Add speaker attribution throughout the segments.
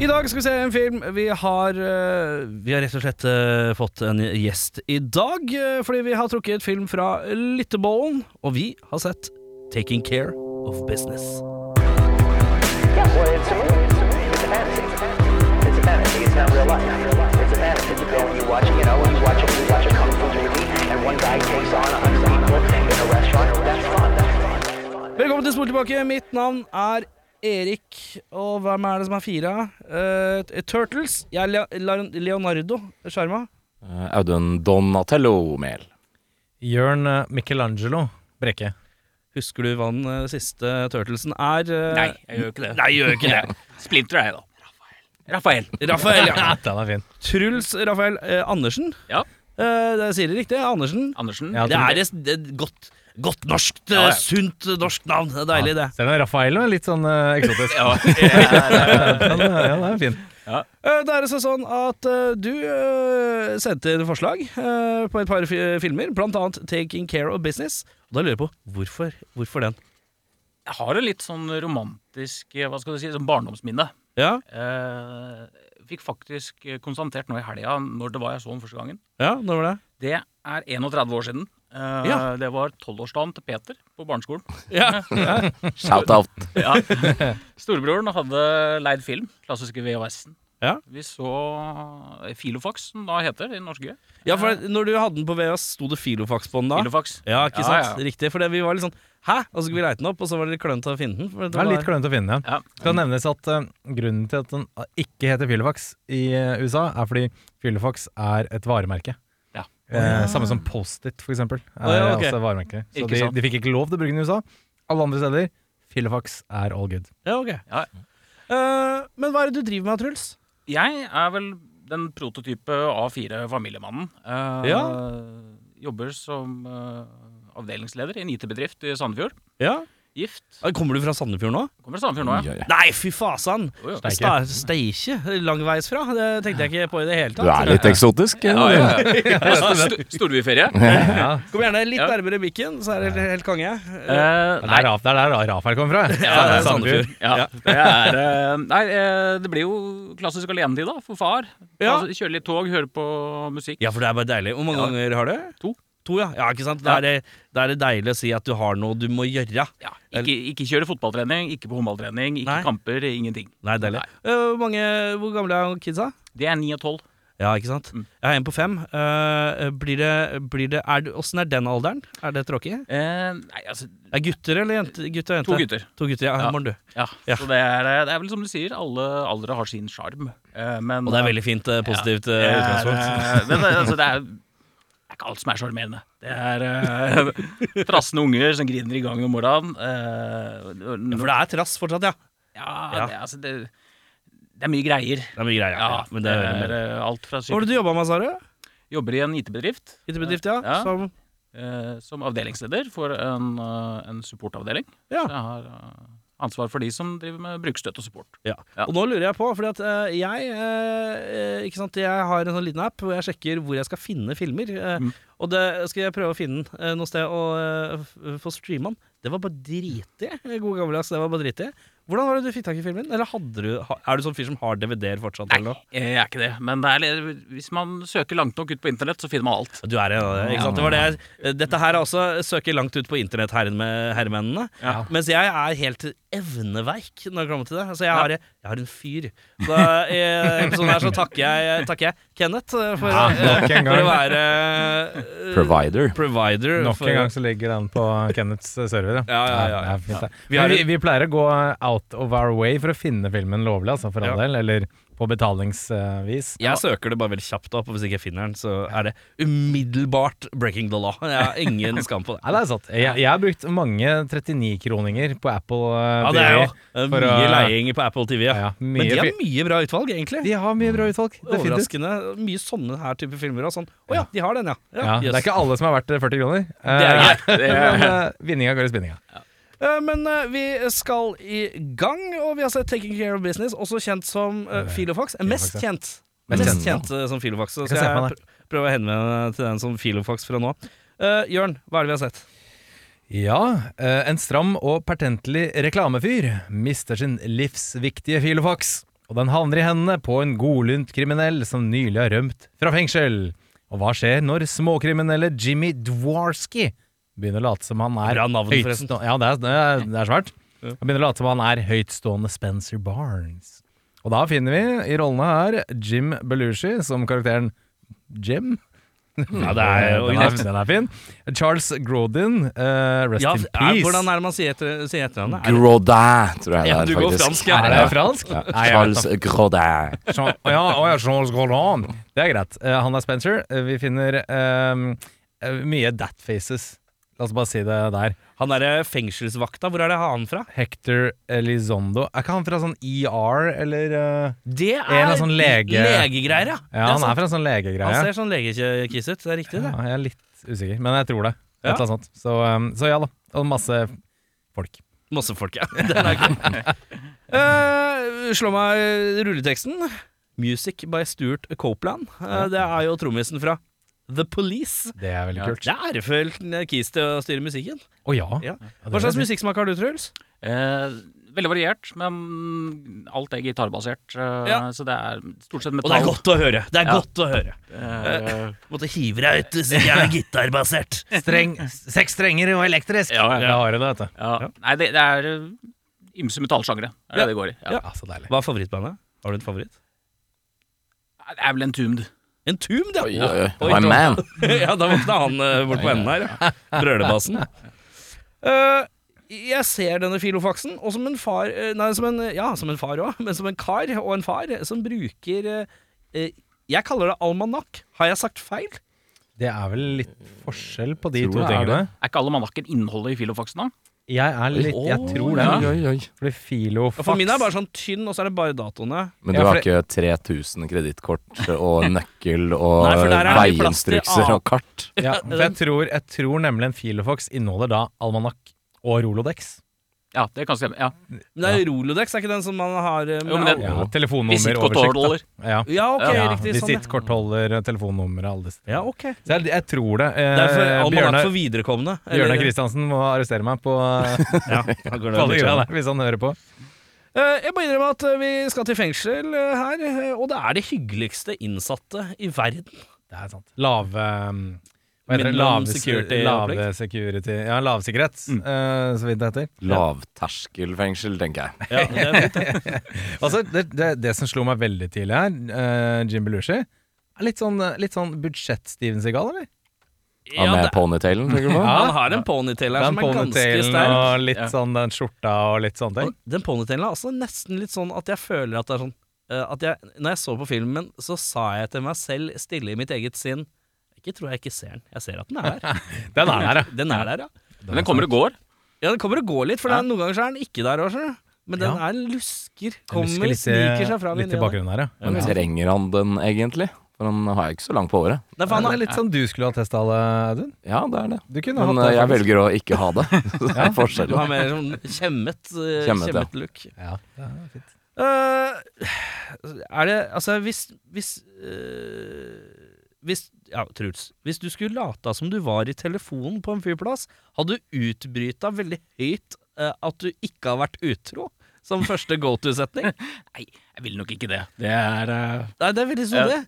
Speaker 1: I dag skal vi se en film. Vi har, eh, vi har rett og slett eh, fått en gjest i dag, eh, fordi vi har trukket film fra Lyttebollen, og vi har sett Taking Care of Business.
Speaker 2: Yeah, well, it's a movie. It's a fantasy. It's a fantasy. It's not real life. It's a fantasy. You go and you watch, you know, you watch a, you watch a kung fu movie, and one guy takes on a hundred people in a restaurant. That's fun. That's fun.
Speaker 1: Velkommen til Spor tilbake. Mitt navn er Erik, og hvem er det som er fire? Eh, Turtles. Jeg er Lea- Lar- Leonardo Sjarma.
Speaker 3: Eh, Audun Donatello Mehl.
Speaker 4: Jørn eh, Michelangelo Brekke.
Speaker 1: Husker du hva den eh, siste Turtlesen er? eh?
Speaker 5: Nei, jeg gjør ikke det.
Speaker 1: Nei, gjør ikke det.
Speaker 5: Splinter er jeg, da. Rafael.
Speaker 1: Rafael, ja.
Speaker 4: Ja, den er fin.
Speaker 1: Truls Rafael eh, Andersen.
Speaker 5: Ja.
Speaker 1: Eh, det sier det riktig. Andersen.
Speaker 5: Andersen.
Speaker 4: Ja,
Speaker 1: Det er et, et godt, godt norsk, eh,
Speaker 5: ja.
Speaker 1: sunt eh, norsk navn. Det er deilig, det.
Speaker 4: Selv om Rafaelo er litt sånn eh, eksotisk.
Speaker 5: Ja,
Speaker 4: Den, eh, ja, den er fin.
Speaker 1: Eh, Det er altså sånn at eh, du eh, sendte inn forslag eh, på et par fi- filmer, blant annet 'Taking Care of Business'. Og da lurer jeg på hvorfor, hvorfor den?
Speaker 5: jeg har et litt sånn romantisk eh, hva skal du si, sånn barndomsminne.
Speaker 1: Ja,
Speaker 5: Eh, fikk faktisk eh, konstatert nå i helga når det var jeg så den første gangen.
Speaker 1: ja, når var det?
Speaker 5: Det er 31 år siden. Eh,
Speaker 1: Ja.
Speaker 5: Det var tolvårsdagen til Peter på barneskolen.
Speaker 1: Ja,
Speaker 3: Shout-out.
Speaker 5: Ja. Storebroren hadde leid film, klassiske VHS-en.
Speaker 1: Ja.
Speaker 5: Vi så Filofax, som da heter i norske.
Speaker 1: ja for det- når du hadde den på VHS, sto det Filofax på den da?
Speaker 5: Filofax.
Speaker 1: Ja, ikke
Speaker 5: Ja,
Speaker 1: sant?
Speaker 5: ja.
Speaker 1: Riktig. For det, vi var litt sånn Hæ? Og så skulle vi leite den opp, og så var det litt klønete å finne den. for det
Speaker 4: Det er
Speaker 1: var-
Speaker 4: litt klønete å finne. Ja.
Speaker 5: Ja.
Speaker 4: Skal nevnes at eh, grunnen til at den ikke heter Filofax i eh, USA, er fordi Filofax er et varemerke.
Speaker 5: Ja.
Speaker 4: Eh, samme som Post-It, for eksempel. Er
Speaker 1: Å, ja, ok.
Speaker 4: også et varemerke. Så
Speaker 5: Ikke
Speaker 4: de,
Speaker 5: sant.
Speaker 4: de fikk ikke lov til å bruke den i USA. Alle andre steder. Filofax er all good.
Speaker 1: Ja, ok.
Speaker 5: Ja.
Speaker 1: Eh, men hva er det du driver med, Truls?
Speaker 5: Jeg er vel den prototype A4-familiemannen. Eh,
Speaker 1: Ja.
Speaker 5: Jobber som eh, avdelingsleder i en IT-bedrift i Sandefjord.
Speaker 1: Ja.
Speaker 5: Gift.
Speaker 1: Ah, Kommer du fra Sandefjord nå?
Speaker 5: Kommer til Sandefjord nå, ja.
Speaker 3: Oi, oi.
Speaker 1: Nei, fy fasan!
Speaker 5: Jo, jo.
Speaker 1: Sta-
Speaker 4: Steike.
Speaker 1: Steikje? Langveisfra? Det tenkte jeg ikke på i det hele
Speaker 3: Du
Speaker 1: tatt.
Speaker 3: er litt eksotisk.
Speaker 5: Ja,
Speaker 3: eh,
Speaker 5: ja, ja. Sto- Storbyferie.
Speaker 4: Ja.
Speaker 1: Kom gjerne litt
Speaker 5: Ja.
Speaker 1: nærmere mikken, så er det helt- helt konge.
Speaker 5: Eh,
Speaker 4: Det
Speaker 5: nei,
Speaker 4: er der Raf- det er der Rafael kommer fra.
Speaker 5: det er
Speaker 1: Sandefjord.
Speaker 5: ja, det er eh, Nei, eh, det blir jo klassisk alenetid, da, for far.
Speaker 1: Ja.
Speaker 5: Altså, kjøre litt tog, høre på musikk.
Speaker 1: Ja, for det er bare deilig. Hvor mange
Speaker 5: Ja.
Speaker 1: ganger har du?
Speaker 5: To.
Speaker 1: To, ja. ja ikke sant? Da
Speaker 5: Ja.
Speaker 1: er, det, da er det deilig å si at du har noe du må gjøre.
Speaker 5: Ja, ikke, ikke kjøre fotballtrening, ikke på håndballtrening, ikke
Speaker 1: Nei.
Speaker 5: kamper, ingenting.
Speaker 1: Nei, deilig. Eh, Hvor, mange, hvor gamle er kidsa?
Speaker 5: Det er 9 og 12.
Speaker 1: Ja, ikke sant?
Speaker 5: Mm.
Speaker 1: Jeg er en på fem. Eh, blir det, blir det, er du, hvordan er den alderen? Er det tråkig?
Speaker 5: Eh, nei, altså,
Speaker 1: Er gutter eller jenter? Gutter og jenter?
Speaker 5: to gutter.
Speaker 1: To gutter, ja.
Speaker 5: Ja.
Speaker 1: Morn, du.
Speaker 5: Ja,
Speaker 1: Ja.
Speaker 5: så det er, eh, det er vel som du sier, alle aldre har sin sjarm. Eh, men-
Speaker 1: Og det er veldig fint, eh, positivt eh,
Speaker 5: Det er,
Speaker 1: utgangspunkt.
Speaker 5: eh, men det, altså, det er, det er ikke alt som er sjarmerende. Det er eh, trassende unger som griner i gangen om morgenen. eh,
Speaker 1: For det er trass fortsatt, ja.
Speaker 5: ja, det, altså, det, det er mye greier.
Speaker 1: Det er mye greier. Ja,
Speaker 5: Ja,
Speaker 1: ja. Men det er,
Speaker 5: er eh, alt fra
Speaker 1: Hva var
Speaker 5: syk...
Speaker 1: det du jobba med, sa du?
Speaker 5: Jobber i en IT-bedrift
Speaker 1: IT-bedrift, ja.
Speaker 5: Ja.
Speaker 1: Som,
Speaker 5: eh, som avdelingsleder for en, eh, en supportavdeling.
Speaker 1: Ja.
Speaker 5: Så jeg har eh, ansvar for de som driver med brukerstøtte og support.
Speaker 1: ja.
Speaker 5: Ja.
Speaker 1: Og nå lurer jeg på, fordi at eh, jeg eh, Ikke sant, jeg har en sånn liten app hvor jeg sjekker hvor jeg skal finne filmer. eh,
Speaker 5: Mm.
Speaker 1: Og det skal jeg prøve å finne den eh, noe sted og eh, f- få streama den. Det var bare dritig, god gammeldags. Det var bare dritig. Hvordan var det du fikk tak i filmen? Eller hadde du, ha- Er du sånn fyr som har DVD-er fortsatt? Eller noe?
Speaker 5: Jeg er ikke det, men det er, litt- hvis man søker langt nok ut på internett, så finner man alt.
Speaker 1: Du er en av det, ikke sant? Det var det jeg, eh, dette her er også søker langt ut på internett, herren med herremennene.
Speaker 5: Ja.
Speaker 1: Mens jeg er helt evneveik når det kommer til det. Altså, jeg, har, jeg har en fyr. Så i eh, episoden her så takker jeg, takker jeg Kenneth eh, for,
Speaker 4: Ja,
Speaker 1: eh,
Speaker 4: nok en
Speaker 1: for å
Speaker 4: gang.
Speaker 1: være eh,
Speaker 3: Provider.
Speaker 1: provider.
Speaker 4: Nok
Speaker 1: for-
Speaker 4: en gang så ligger den på Kenneths eh, server.
Speaker 1: Ja, ja, ja,
Speaker 4: det er fint, det.
Speaker 1: Vi har
Speaker 4: Men vi,
Speaker 1: en-
Speaker 4: vi pleier å gå out of our way for å finne filmen lovlig, altså, for all
Speaker 1: Ja.
Speaker 4: del. Eller på betalingsvis.
Speaker 1: Jeg søker det bare veldig kjapt opp, og hvis ikke jeg finner den, så er det umiddelbart breaking the law. Jeg har ingen skam på
Speaker 4: Nei,
Speaker 1: det.
Speaker 4: det er sant. Jeg, jeg har brukt mange 39-kroninger på Apple eh,
Speaker 1: Ja, det er jo
Speaker 4: TV.
Speaker 1: det er
Speaker 4: For
Speaker 1: mye
Speaker 4: å-
Speaker 1: leiinger på Apple TV. Ja.
Speaker 4: Ja,
Speaker 1: Men de
Speaker 4: mye,
Speaker 1: har
Speaker 4: fi-
Speaker 1: mye bra utvalg, egentlig.
Speaker 4: de har mye bra utvalg. Definitivt.
Speaker 1: Overraskende mye sånne her type filmer. Og sånn. Å ja, de har den, ja.
Speaker 4: Ja, Det er
Speaker 1: jøss.
Speaker 4: ikke alle som er verdt 40 kroner.
Speaker 1: er
Speaker 4: Eh, men eh, vinninga går i spinninga.
Speaker 1: Eh, Men eh, vi skal i gang, og vi har sett Taking Care of Business, også kjent som eh, Filofax. Eh, Mest
Speaker 4: Filofax,
Speaker 1: kjent.
Speaker 4: Mest
Speaker 1: Mest
Speaker 4: kjent.
Speaker 1: kjent eh, som Filofax. Så
Speaker 4: Jeg kan
Speaker 1: skal
Speaker 4: se for meg
Speaker 1: jeg pr- prøve å henvende meg til den som Filofax fra nå. Eh, Jørn, hva er det vi har sett?
Speaker 4: Ja, eh, en stram og pertentlig reklamefyr mister sin livsviktige filofax, og den havner i hendene på en godlynt kriminell som nylig har rømt fra fengsel. Og hva skjer når småkriminelle Jimmy Dwarski begynner å late som han er
Speaker 1: Bra navn, forresten.
Speaker 4: høytstå- Ja, det er, det er, det er svært.
Speaker 1: Ja.
Speaker 4: Han begynner å late som han er høytstående Spencer Barnes. Og da finner vi i rollene her Jim Belushi som karakteren Jim.
Speaker 1: Ja, det er jo
Speaker 4: Hmm. Eh, den, er, den er fin. Charles Grodin, eh, rest
Speaker 1: ja,
Speaker 4: in
Speaker 1: er,
Speaker 4: peace.
Speaker 1: hvordan er det man sier etter, sier etternavnet? Er det-
Speaker 3: Grodin, tror jeg det
Speaker 1: Ja,
Speaker 3: er,
Speaker 1: du
Speaker 3: faktisk.
Speaker 1: går fransk, ja.
Speaker 4: Er det fransk?
Speaker 3: Ja.
Speaker 4: Nei, jeg
Speaker 3: Charles
Speaker 4: vet
Speaker 3: Grodin.
Speaker 4: Jean- Å ja, å ja, Charles Gaulan. Det er greit. Eh, han er Spencer. Eh, Vi finner ehm, eh, mye datfaces. La oss bare si det der.
Speaker 1: Han derre fengselsvakta, hvor er det han fra?
Speaker 4: Hector Elizondo. Er ikke han fra sånn ER, eller eh,
Speaker 1: Det er
Speaker 4: En av sånn lege-
Speaker 1: legegreier, ja. Det
Speaker 4: Ja, han
Speaker 1: sant.
Speaker 4: er fra en
Speaker 1: Han
Speaker 4: sånn legegreie.
Speaker 1: ser sånn legekiss ut. Det er riktig,
Speaker 4: Ja,
Speaker 1: det.
Speaker 4: jeg er litt usikker, men jeg tror det. Et
Speaker 1: Ja.
Speaker 4: eller annet sånt. Så, ehm, så ja da. Og masse folk.
Speaker 1: Masse folk, ja. Den er kul. Eh, slå meg rulleteksten. Music by Stuart Copeland. Eh, det er jo trommisen fra The Police.
Speaker 4: Det er veldig kult.
Speaker 1: Det er ærefull kis til å styre musikken.
Speaker 4: Å ja.
Speaker 1: Ja.
Speaker 4: det
Speaker 1: Hva
Speaker 4: vil jeg
Speaker 1: slags
Speaker 4: si.
Speaker 1: musikksmak har du, Truls?
Speaker 5: Eh, veldig variert, men alt er gitarbasert. eh,
Speaker 1: Ja.
Speaker 5: Så det er stort sett
Speaker 1: Og det
Speaker 5: metall.
Speaker 1: er godt å høre. Det er
Speaker 5: Ja.
Speaker 1: godt å høre.
Speaker 5: Eh,
Speaker 1: Måtte hive deg ut, siden jeg er gitarbasert.
Speaker 4: Streng, seks strenger og elektrisk.
Speaker 5: Ja, ja, ja.
Speaker 4: Jeg har det, vet du.
Speaker 5: ja. Nei, det, det er eh, ymse metallsjangre. Det er
Speaker 1: Ja.
Speaker 5: det det går i. Ja.
Speaker 4: Ja, så deilig.
Speaker 1: Hva er favorittbandet? Har du et favoritt?
Speaker 5: Det er vel en Tumd.
Speaker 1: En Tombed, ja.
Speaker 3: Oi, oi, oi.
Speaker 1: Oi,
Speaker 3: My
Speaker 1: oi.
Speaker 3: man.
Speaker 1: ja, da våkna han eh, bort på enden her. ja. Brølebassen. Eh, jeg ser denne filofaksen, og som en far eh, Nei, som en, ja, som en far òg, men som en kar og en far som bruker eh, eh, Jeg kaller det almanakk. Har jeg sagt feil?
Speaker 4: Det er vel litt forskjell på de
Speaker 3: Tror
Speaker 4: to
Speaker 3: det er
Speaker 4: tingene.
Speaker 5: Er ikke almanakken innholdet i filofaxen, da?
Speaker 4: Jeg er litt Jeg tror det.
Speaker 5: ja.
Speaker 3: Oi, oi, oi.
Speaker 4: Fordi
Speaker 1: Ja,
Speaker 4: filofax
Speaker 1: For min er bare sånn tynn, og så er det bare datoene.
Speaker 3: Men du
Speaker 4: Ja, for
Speaker 3: har ikke 3000 kredittkort og nøkkel og
Speaker 1: Nei, for der er det plass til
Speaker 3: veiinstrukser
Speaker 1: A.
Speaker 3: og kart?
Speaker 1: sånn.
Speaker 4: ja, for jeg, tror, jeg tror nemlig en filofax inneholder da almanakk og Rolodex.
Speaker 5: Ja, det kan stemme. Ja.
Speaker 1: Men det er Rolodex, er ikke den som man har eh,
Speaker 5: Jo, men den-
Speaker 1: al-
Speaker 4: Ja, telefonnummeroversikt.
Speaker 5: Visittkortholder.
Speaker 4: da. Ja.
Speaker 1: Ja, ok,
Speaker 4: Ja,
Speaker 1: riktig. Sånn, ja.
Speaker 4: Visittkortholder, telefonnummer og alle disse
Speaker 1: ja, ok.
Speaker 4: Så jeg, jeg tror det. Eh,
Speaker 1: Det er for almanakk
Speaker 4: Bjørnar,
Speaker 1: for viderekomne.
Speaker 4: Bjørnar Kristiansen må arrestere meg på, eh,
Speaker 1: Ja, da går
Speaker 4: på
Speaker 1: det
Speaker 4: alle
Speaker 1: litt
Speaker 4: greia
Speaker 1: sånn.
Speaker 4: der, hvis han hører på.
Speaker 1: Eh, Jeg må innrømme at eh, vi skal til fengsel eh, her, eh, og det er de hyggeligste innsatte i verden.
Speaker 4: Det er sant. Lav... eh, Hva heter det?
Speaker 1: Minimum
Speaker 4: Lav
Speaker 1: security
Speaker 4: lav
Speaker 1: opplegg. Mm.
Speaker 4: security Ja, lavsikkerhet, eh, så vidt det heter.
Speaker 3: Lavterskelfengsel, tenker jeg.
Speaker 1: Ja, det er fint, det.
Speaker 4: Altså, det, det, det som slo meg veldig tidlig her, eh, Jim Belushi er Litt sånn, litt sånn budsjett-Steven Seagal, eller?
Speaker 1: Ja,
Speaker 3: Han
Speaker 1: det
Speaker 3: med
Speaker 1: er-
Speaker 3: ponytailen, tenker du på?
Speaker 1: han har en ponytail her
Speaker 4: Den
Speaker 1: som er ganske
Speaker 4: ponytailen
Speaker 1: sterk.
Speaker 4: og litt
Speaker 5: Ja.
Speaker 4: sånn den skjorta og litt sånne ting.
Speaker 1: Og Den ponytailen er altså nesten litt sånn at jeg føler at det er sånn eh, at jeg, Når jeg så på filmen, så sa jeg til meg selv stille i mitt eget sinn Ikke tror jeg ikke ser den. Jeg ser at den er der.
Speaker 4: Den er der, ja.
Speaker 1: Den er der, ja.
Speaker 5: Men den kommer og går.
Speaker 1: Ja, Den kommer og går litt, for det er- noen ganger så er den ikke der òg, skjønner du. Men den
Speaker 4: Ja.
Speaker 1: er lusker.
Speaker 4: Jeg husker
Speaker 1: Kommer, sniker seg fram.
Speaker 4: litt
Speaker 1: inni
Speaker 4: i
Speaker 1: deg.
Speaker 4: bakgrunnen her, ja.
Speaker 3: Men trenger han den egentlig? For han har jo ikke så langt på året.
Speaker 1: Nei, for han
Speaker 4: Faen, det
Speaker 1: er
Speaker 4: er litt sånn du skulle ha testa det, Audun.
Speaker 3: Ja, det er det.
Speaker 4: Du kunne
Speaker 3: Men
Speaker 4: hatt
Speaker 3: eh,
Speaker 4: det.
Speaker 3: jeg
Speaker 4: faktisk.
Speaker 3: velger å ikke ha det. Så det er
Speaker 1: Du har
Speaker 3: forskjellen.
Speaker 1: mer sånn kjemmet, eh,
Speaker 3: Kjemmet, ja.
Speaker 1: kjemmet look.
Speaker 4: Ja, det er fint.
Speaker 1: Eh, er det Altså, hvis Hvis, eh, hvis Ja, Truls. Hvis du skulle lata som du var i telefonen på en flyplass, hadde du utbryta veldig høyt eh, at du ikke har vært utro? Som første go to-setning?
Speaker 5: Nei, jeg vil nok ikke det. Det er eh,
Speaker 1: Nei, det er veldig sånn det.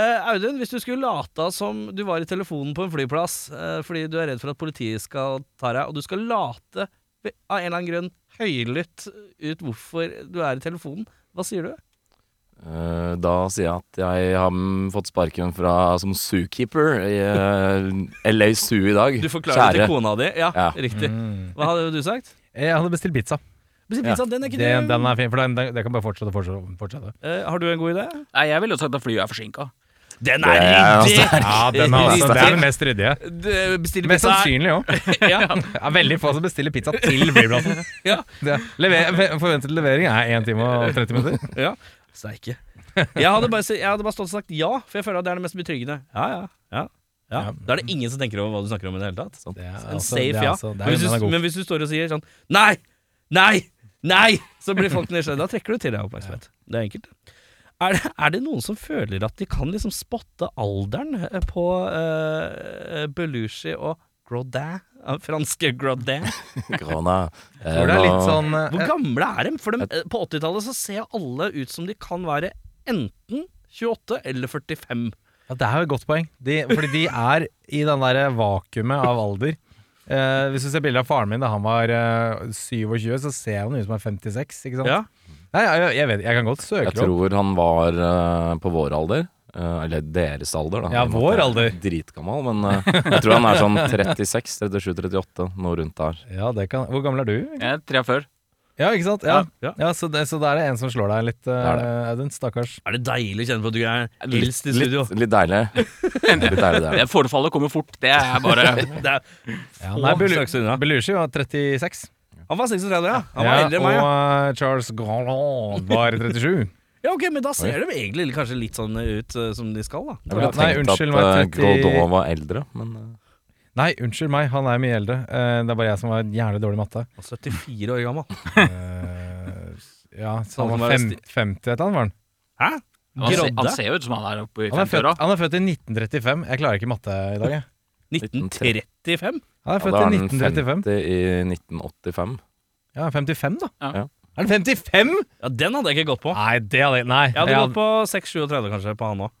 Speaker 1: Eh, Audun, hvis du skulle lata som du var i telefonen på en flyplass eh, fordi du er redd for at politiet skal ta deg, og du skal late ve- av en eller annen grunn høylytt ut hvorfor du er i telefonen, hva sier du?
Speaker 3: Eh, Da sier jeg at jeg har mm, fått sparken fra som zookeeper i eh, LA Zoo i dag.
Speaker 1: Du forklarer det
Speaker 3: Kjære.
Speaker 1: til kona di. Ja,
Speaker 3: Ja.
Speaker 4: Mm.
Speaker 1: riktig. Hva hadde du sagt?
Speaker 4: Jeg hadde bestilt pizza.
Speaker 1: Men pizzaen, den er ikke
Speaker 4: Den,
Speaker 1: du-
Speaker 4: den er fin, for den, den, den kan bare fortsette og fortsette. fortsette.
Speaker 1: Eh, har du en god idé?
Speaker 5: Nei, jeg ville jo sagt at flyet er forsinka.
Speaker 1: Den
Speaker 3: er ryddig!
Speaker 4: Ja, den er, altså, det er den mest ryddige.
Speaker 1: Bestille
Speaker 4: Mest
Speaker 1: pizza her.
Speaker 4: sannsynlig òg.
Speaker 1: Ja,
Speaker 4: Det er veldig få som bestiller pizza til flyplassen.
Speaker 1: ja,
Speaker 4: Det er- lever- Forventet levering er 1 time og 30 minutter.
Speaker 1: ja. Steike. Jeg hadde bare, jeg hadde bare stått og sagt ja, for jeg føler at det er det mest betryggende. Ja, ja, ja, ja.
Speaker 4: Ja.
Speaker 1: Da er det ingen som tenker over hva du snakker om i det hele tatt.
Speaker 4: Det er
Speaker 1: En
Speaker 4: altså-
Speaker 1: safe
Speaker 4: det er
Speaker 1: ja.
Speaker 4: altså- det
Speaker 1: men,
Speaker 4: er-
Speaker 1: hvis
Speaker 4: den er
Speaker 1: du,
Speaker 4: god.
Speaker 1: men hvis du står og sier sånn Nei! Nei! Nei! Så blir folk nysgjerrige. Da trekker du til deg oppmerksomhet. Det er enkelt. Er det, er det noen som føler at de kan liksom spotte alderen eh, på eh, Belushi og Grodin? Eh, Franske Grodin?
Speaker 3: Corona. Eh,
Speaker 4: Hvor det er litt
Speaker 3: nå-
Speaker 4: sånn
Speaker 1: Hvor
Speaker 4: eh,
Speaker 1: gamle er de? For dem- eh, på 80-tallet så ser alle ut som de kan være enten 28 eller 45.
Speaker 4: ja, Det er jo et godt poeng. De, fordi de er i den derre vakuumet av alder. Eh, hvis du ser bilder av faren min da han var eh, 27, så ser han ut som han er 56. Ikke sant?
Speaker 1: Ja.
Speaker 4: Nei, jeg, jeg, vet, jeg kan godt søke
Speaker 3: Jeg
Speaker 4: det opp.
Speaker 3: tror han var eh, på vår alder. eh, eller deres alder, da.
Speaker 4: Ja,
Speaker 3: I og med
Speaker 4: vår
Speaker 3: at jeg er
Speaker 4: alder.
Speaker 3: Dritgammal, men eh, jeg tror han er sånn 36, 37, 38, noe rundt der.
Speaker 4: Ja, det kan, hvor gammel er du?
Speaker 5: Jeg er 43.
Speaker 4: Ja, ikke sant? Ja,
Speaker 1: Ja.
Speaker 4: ja så, det, så da er det en som slår deg litt, eh, Audun. Stakkars.
Speaker 1: Er det deilig å kjenne på at du er
Speaker 3: Litt-
Speaker 1: eldst i studio?
Speaker 3: Litt, litt deilig. Litt deilig det er.
Speaker 5: Det forfallet kommer fort. Det er bare
Speaker 1: Det er Få
Speaker 4: Ja, nei, Belu
Speaker 1: slags unna.
Speaker 4: Belushi var 36.
Speaker 1: Han var 36, ja. Han var eldre enn meg.
Speaker 4: og
Speaker 1: Ja.
Speaker 4: eh, Charles Grandland var 37.
Speaker 1: ja, ok, Men da ser de egentlig kanskje litt sånn ut eh, som de skal, da.
Speaker 3: Jeg ville
Speaker 4: Ja, nei,
Speaker 3: tenkt
Speaker 4: unnskyld,
Speaker 3: at
Speaker 4: var
Speaker 3: uh,
Speaker 4: 30
Speaker 3: Godot var eldre, men eh,
Speaker 4: Nei, unnskyld meg, han er mye eldre. Eh, det er bare jeg som var jævlig dårlig i matte.
Speaker 1: Og 74 år gammel.
Speaker 4: Eh, ja, så
Speaker 1: Han
Speaker 4: han
Speaker 1: var
Speaker 4: var fem,
Speaker 1: sti-
Speaker 4: 50 et eller annet, var han.
Speaker 1: Hæ?
Speaker 5: han, ser, han
Speaker 1: Grodde?
Speaker 5: ser jo ut som han er oppe i
Speaker 4: Han er, født,
Speaker 5: 50-åra.
Speaker 4: han er født i 1935. Jeg klarer ikke matte i dag, jeg.
Speaker 1: 1935?
Speaker 4: Han
Speaker 3: ja,
Speaker 4: er født
Speaker 3: eh, da er
Speaker 4: i
Speaker 3: han
Speaker 4: 1935.
Speaker 3: 50 i 1985.
Speaker 4: Ja, 55, da.
Speaker 5: Ja.
Speaker 4: Er han 55?!
Speaker 1: Ja, den hadde jeg ikke gått på.
Speaker 4: Nei, det hadde jeg Nei.
Speaker 1: Jeg hadde
Speaker 4: jeg
Speaker 1: gått på 6-37 kanskje på han òg.
Speaker 4: hadde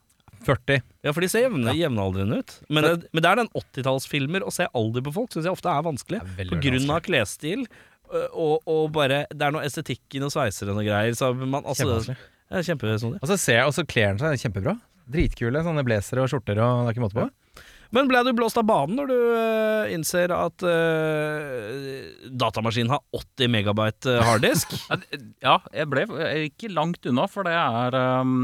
Speaker 4: 40.
Speaker 1: Ja, for de ser jevne, jevnaldrende ut. Men det, men det er den 80-tallsfilmer å se alder på folk syns jeg ofte er vanskelig.
Speaker 4: Det er veldig,
Speaker 1: på
Speaker 4: veldig
Speaker 1: grunn av klesstil øh, og, og bare Det er noe estetikken og sveiseren og greier. Så man, altså,
Speaker 4: Kjempevanskelig.
Speaker 1: det er kjempesnodig.
Speaker 4: Og så ser jeg, og så kler han seg kjempebra. Dritkule sånne blazere og skjorter og det er ikke måte på.
Speaker 1: Men ble du blåst av banen når du øh, innser at øh, datamaskinen har 80 megabyte øh, harddisk?
Speaker 5: Ja, det- Ja, jeg ble jeg er ikke langt unna, for det er ehm,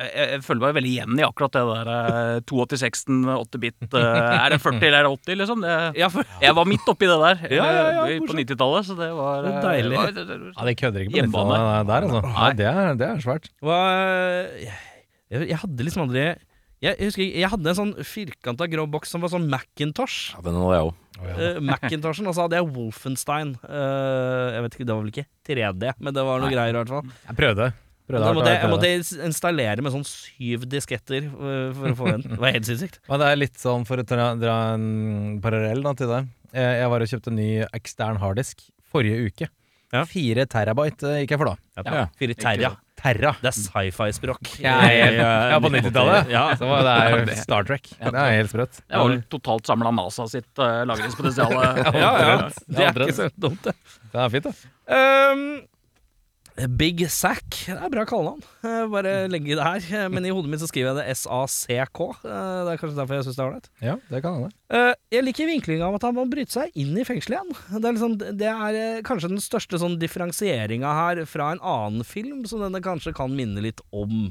Speaker 5: jeg, jeg jeg føler meg veldig igjen i akkurat det der eh, 286-en, 8-bit eh, Er det 40 eller er det 80, liksom? Det,
Speaker 1: ja, for
Speaker 5: jeg var midt oppi det der
Speaker 1: Ja, ja, ja,
Speaker 5: eh, på
Speaker 1: morsomt.
Speaker 5: 90-tallet, så det var
Speaker 1: Det er
Speaker 5: eh,
Speaker 1: deilig.
Speaker 5: var- det- det-
Speaker 4: Ja, De kødder ikke på
Speaker 5: Hjemmebane.
Speaker 4: nittitallet der, altså. Nei, det, er, det er svært.
Speaker 1: Hva jeg, jeg hadde liksom aldri jeg, jeg husker jeg, jeg hadde en sånn firkanta grå boks som var sånn Macintosh.
Speaker 3: Ja, den hadde jeg òg.
Speaker 1: Eh, Macintoshen, og så hadde jeg Wolfenstein. Eh, jeg vet ikke, Det var vel ikke 3D, men det var noe greier i hvert fall.
Speaker 4: Jeg prøvde. prøvde
Speaker 1: Da
Speaker 4: hardt,
Speaker 1: måtte jeg, jeg
Speaker 4: prøvde.
Speaker 1: måtte ins- installere med sånn syv disketter eh, for å få en. Det var helt sinnssykt.
Speaker 4: Men det er litt sånn for å dra, dra en parallell da, til det. Eh, Jeg var og kjøpte en ny ekstern harddisk forrige uke.
Speaker 1: Ja.
Speaker 4: Fire terabyte eh, gikk jeg for da.
Speaker 1: Ja. Fire terra.
Speaker 4: Terra.
Speaker 1: Det er sci-fi-språk. eh,
Speaker 4: Ja, på 90-tallet.
Speaker 1: Ja.
Speaker 4: Så var det er Star Trek. Det er helt sprøtt.
Speaker 5: Jeg var vel totalt samla NASA sitt uh, lagringspotensial. eh.
Speaker 1: Ja, ja. Det er
Speaker 4: Omtrent.
Speaker 1: ikke så dumt, det.
Speaker 4: Det er fint, da.
Speaker 1: Um, Big Sack Det er bra kallenavn. Eh, Bare legge det her. Eh, Men i hodet mitt så skriver jeg det SACK. Eh, Det er kanskje derfor jeg syns det er ålreit.
Speaker 4: Ja, det kan hende.
Speaker 1: Eh, jeg liker vinklinga om at han må bryte seg inn i fengselet igjen. Det er, liksom, det er eh, kanskje den største sånn differensieringa her fra en annen film som denne kanskje kan minne litt om.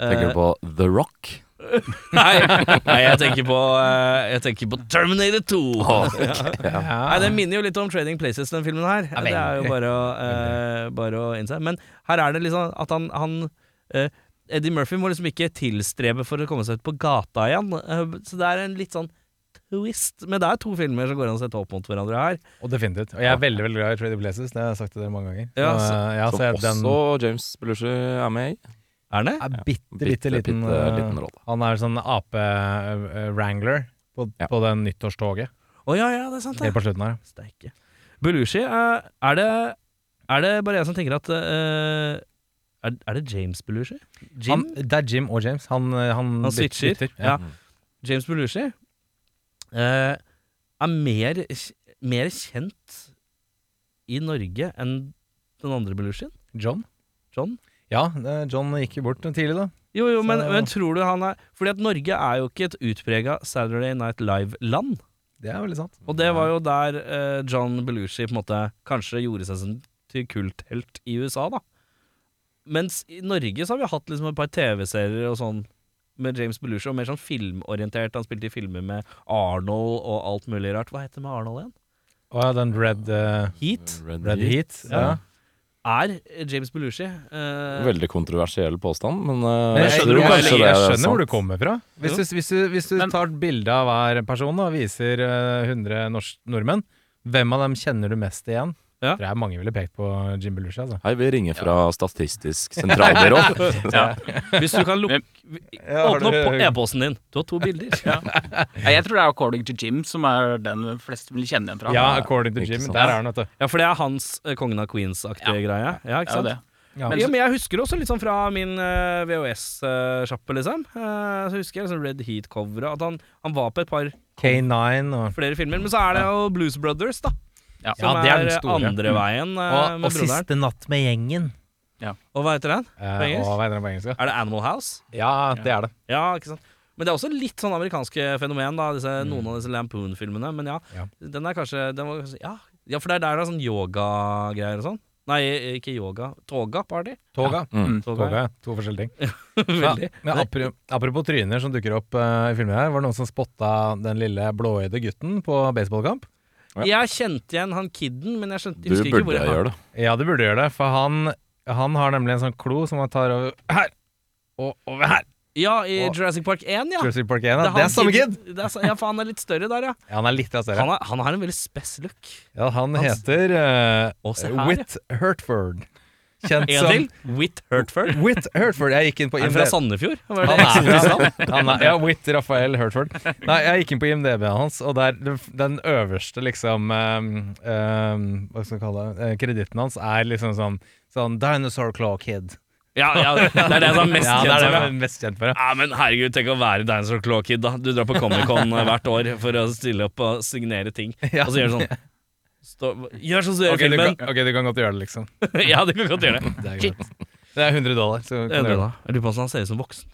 Speaker 1: Eh,
Speaker 3: Tenker du på The Rock?
Speaker 1: nei, nei, jeg tenker på eh, Jeg tenker på Terminator 2. Nei, Det minner jo litt om Trading Places, den filmen her.
Speaker 4: Ah. Ja,
Speaker 1: det er jo
Speaker 4: veldig.
Speaker 1: bare å, eh, bare å innse. Men her er det liksom at han, han eh, Eddie Murphy må liksom ikke tilstrebe for å komme seg ut på gata igjen. Eh, så det er en litt sånn twist. Men det er to filmer som går an å sette opp mot hverandre her.
Speaker 4: Og definitivt. Og jeg er veldig veldig glad i Trady Blazers. Det har jeg sagt til dere mange ganger.
Speaker 1: Ja,
Speaker 4: Så,
Speaker 1: så-
Speaker 4: eh, ja, så
Speaker 3: Som
Speaker 4: jeg, den
Speaker 3: også James Belushi er med i.
Speaker 1: Er den det?
Speaker 4: er bitte, bitte
Speaker 3: Bitte,
Speaker 4: liten.
Speaker 3: bitte
Speaker 4: eh,
Speaker 3: liten rolle.
Speaker 4: Han er sånn ape-wrangler på,
Speaker 3: Ja.
Speaker 4: på den nyttårstoget
Speaker 1: Å ja, ja, det er sant,
Speaker 4: helt
Speaker 1: det.
Speaker 4: på slutten her.
Speaker 1: Steike. Belushi, eh, er det Er det bare jeg som tenker at eh, er, er det James Belushi? Jim?
Speaker 4: Han, det er Jim og James. Han, eh, han,
Speaker 1: Han
Speaker 4: byt-
Speaker 1: switcher.
Speaker 4: bytter.
Speaker 1: Ja. James Belushi eh, er mer, mer kjent i Norge enn den andre Belushien.
Speaker 4: John?
Speaker 1: John?
Speaker 4: Ja, eh, John gikk jo bort tidlig, da.
Speaker 1: Jo, jo, men,
Speaker 4: Så-
Speaker 1: men tror du han er Fordi at Norge er jo ikke et utprega Saturday Night Live-land.
Speaker 4: Det er veldig sant.
Speaker 1: Og det var jo der eh, John Belushi på en måte kanskje gjorde seg sin til kulthelt i USA, da. Mens i Norge så har vi hatt liksom et par TV-serier og sånn med James Belushi, og mer sånn filmorientert. Han spilte i filmer med Arnold og alt mulig rart. Hva heter det med Arnold igjen?
Speaker 4: Å ja, den Red, eh,
Speaker 1: Heat
Speaker 4: red Heat. Ja.
Speaker 1: er James Belushi. eh,
Speaker 3: Veldig kontroversiell påstand, men, eh,
Speaker 4: Men
Speaker 3: jeg
Speaker 4: jeg,
Speaker 3: tror
Speaker 4: jeg,
Speaker 3: kanskje
Speaker 4: jeg,
Speaker 3: det er
Speaker 4: skjønner
Speaker 3: sant.
Speaker 4: hvor du kommer fra. Hvis du, hvis du, hvis du
Speaker 5: Men-
Speaker 4: tar bilde av hver person og viser eh, 100 norsk, nordmenn, hvem av dem kjenner du mest igjen?
Speaker 1: Ja.
Speaker 4: Tror jeg mange ville pekt på Jim Belushi. Altså.
Speaker 3: Hei, vi ringer fra Statistisk sentralbyrå.
Speaker 5: Ja.
Speaker 1: Hvis du kan lukke Åpne opp på e-posten din. Du har to bilder.
Speaker 5: Nei, Jeg tror det er According to Jim som er den fleste vil kjenne igjen fra.
Speaker 4: Ja, according to
Speaker 3: Ikke
Speaker 4: Jim.
Speaker 3: sant.
Speaker 4: Der er han, vet du.
Speaker 1: Ja, for det er hans eh, Kongen av Queens-aktige greie. Ja,
Speaker 5: Det
Speaker 1: ikke
Speaker 5: er jo
Speaker 1: sant?
Speaker 5: det.
Speaker 4: Ja.
Speaker 1: Men, ja, men jeg husker også litt sånn fra min VHS-sjappe, liksom. Eh, så husker jeg liksom Red Heat-coveret. At han, han var på et par
Speaker 4: K9 og
Speaker 1: flere filmer. Men så er det jo Blues Brothers, da.
Speaker 5: Ja.
Speaker 1: Som
Speaker 4: Ja, det er
Speaker 1: er,
Speaker 4: den
Speaker 1: eh,
Speaker 4: store.
Speaker 1: andre veien eh,
Speaker 4: Og,
Speaker 1: med
Speaker 4: og
Speaker 1: broderen.
Speaker 4: Siste natt med gjengen.
Speaker 1: Og hva heter den?
Speaker 4: Eh,
Speaker 1: engelsk?
Speaker 4: og hva heter den på engelsk? da?
Speaker 1: Er det Animal House?
Speaker 4: Ja, det er det.
Speaker 1: Ja, ikke sant. Men det er også litt sånn amerikanske fenomen, da, disse, noen av disse Lampoon-filmene. Men ja,
Speaker 4: Ja.
Speaker 1: den er kanskje den var, kanskje- ja. ja, for det er der det er sånn yoga-greier og sånn. Nei, ikke yoga. Toga-party.
Speaker 4: Toga.
Speaker 3: Mm.
Speaker 4: Toga, ja. To forskjellige ting.
Speaker 1: Veldig.
Speaker 4: Ja, men apro- apropos tryner som dukker opp eh, i filmen her, var det noen som spotta den lille blåøyde gutten på baseballkamp?
Speaker 1: Jeg kjente igjen han kidden, men jeg skjønte
Speaker 3: Du
Speaker 1: husker ikke
Speaker 3: burde
Speaker 1: hvor jeg
Speaker 3: gjøre det.
Speaker 4: Ja, du burde gjøre det, for han, han har nemlig en sånn klo som han tar over her og over her.
Speaker 1: Ja, i
Speaker 4: Og-
Speaker 1: Jurassic Park 1, ja.
Speaker 4: Jurassic Park 1,
Speaker 1: Det
Speaker 4: ja.
Speaker 1: er
Speaker 4: Det
Speaker 1: han
Speaker 4: er samme kid!
Speaker 1: kidden- det er sa- ja, for han er litt større der, ja.
Speaker 4: Ja, han er litt større.
Speaker 1: Han, er, han har en veldig spess look.
Speaker 4: Ja, han
Speaker 1: han-
Speaker 4: heter
Speaker 1: Å, se
Speaker 4: uh,
Speaker 1: her,
Speaker 4: Whit Hertford. Kjent
Speaker 1: En
Speaker 4: som
Speaker 1: til. Whit Hertford.
Speaker 4: Whit Hertford. Jeg gikk inn på
Speaker 1: Er han fra
Speaker 4: IMDb.
Speaker 1: Sandefjord? Hva er
Speaker 4: Han
Speaker 1: det?
Speaker 4: er, han er, ja, Whit Raphael Hertford. Nei, jeg gikk inn på IMDb-en hans, og der, den øverste liksom um, um, Hva skal vi kalle det? Eh, Kreditten hans er liksom sånn, sånn Dinosaur Claw Kid.
Speaker 1: Ja, ja, det er det som er mest
Speaker 4: Ja, det
Speaker 1: kjent.
Speaker 4: er det
Speaker 1: som,
Speaker 4: jeg
Speaker 1: ja.
Speaker 4: er mest kjent for. ja.
Speaker 1: Ja, men herregud, tenk å være Dinosaur Claw Kid, da. Du drar på Comic-Con hvert år for å stille opp og signere ting,
Speaker 4: Ja.
Speaker 1: og så gjør du sånn Stå, Gjør sånn som du gjør i
Speaker 4: Ok, du
Speaker 1: filmen!
Speaker 4: kan, ok, du kan godt gjøre det, liksom.
Speaker 1: ja, du kan godt gjøre det.
Speaker 4: Det er, greit. det er 100 dollar. Så kan
Speaker 1: Jeg
Speaker 4: du gjøre det.
Speaker 1: lurer på hvordan han ser ut som voksen.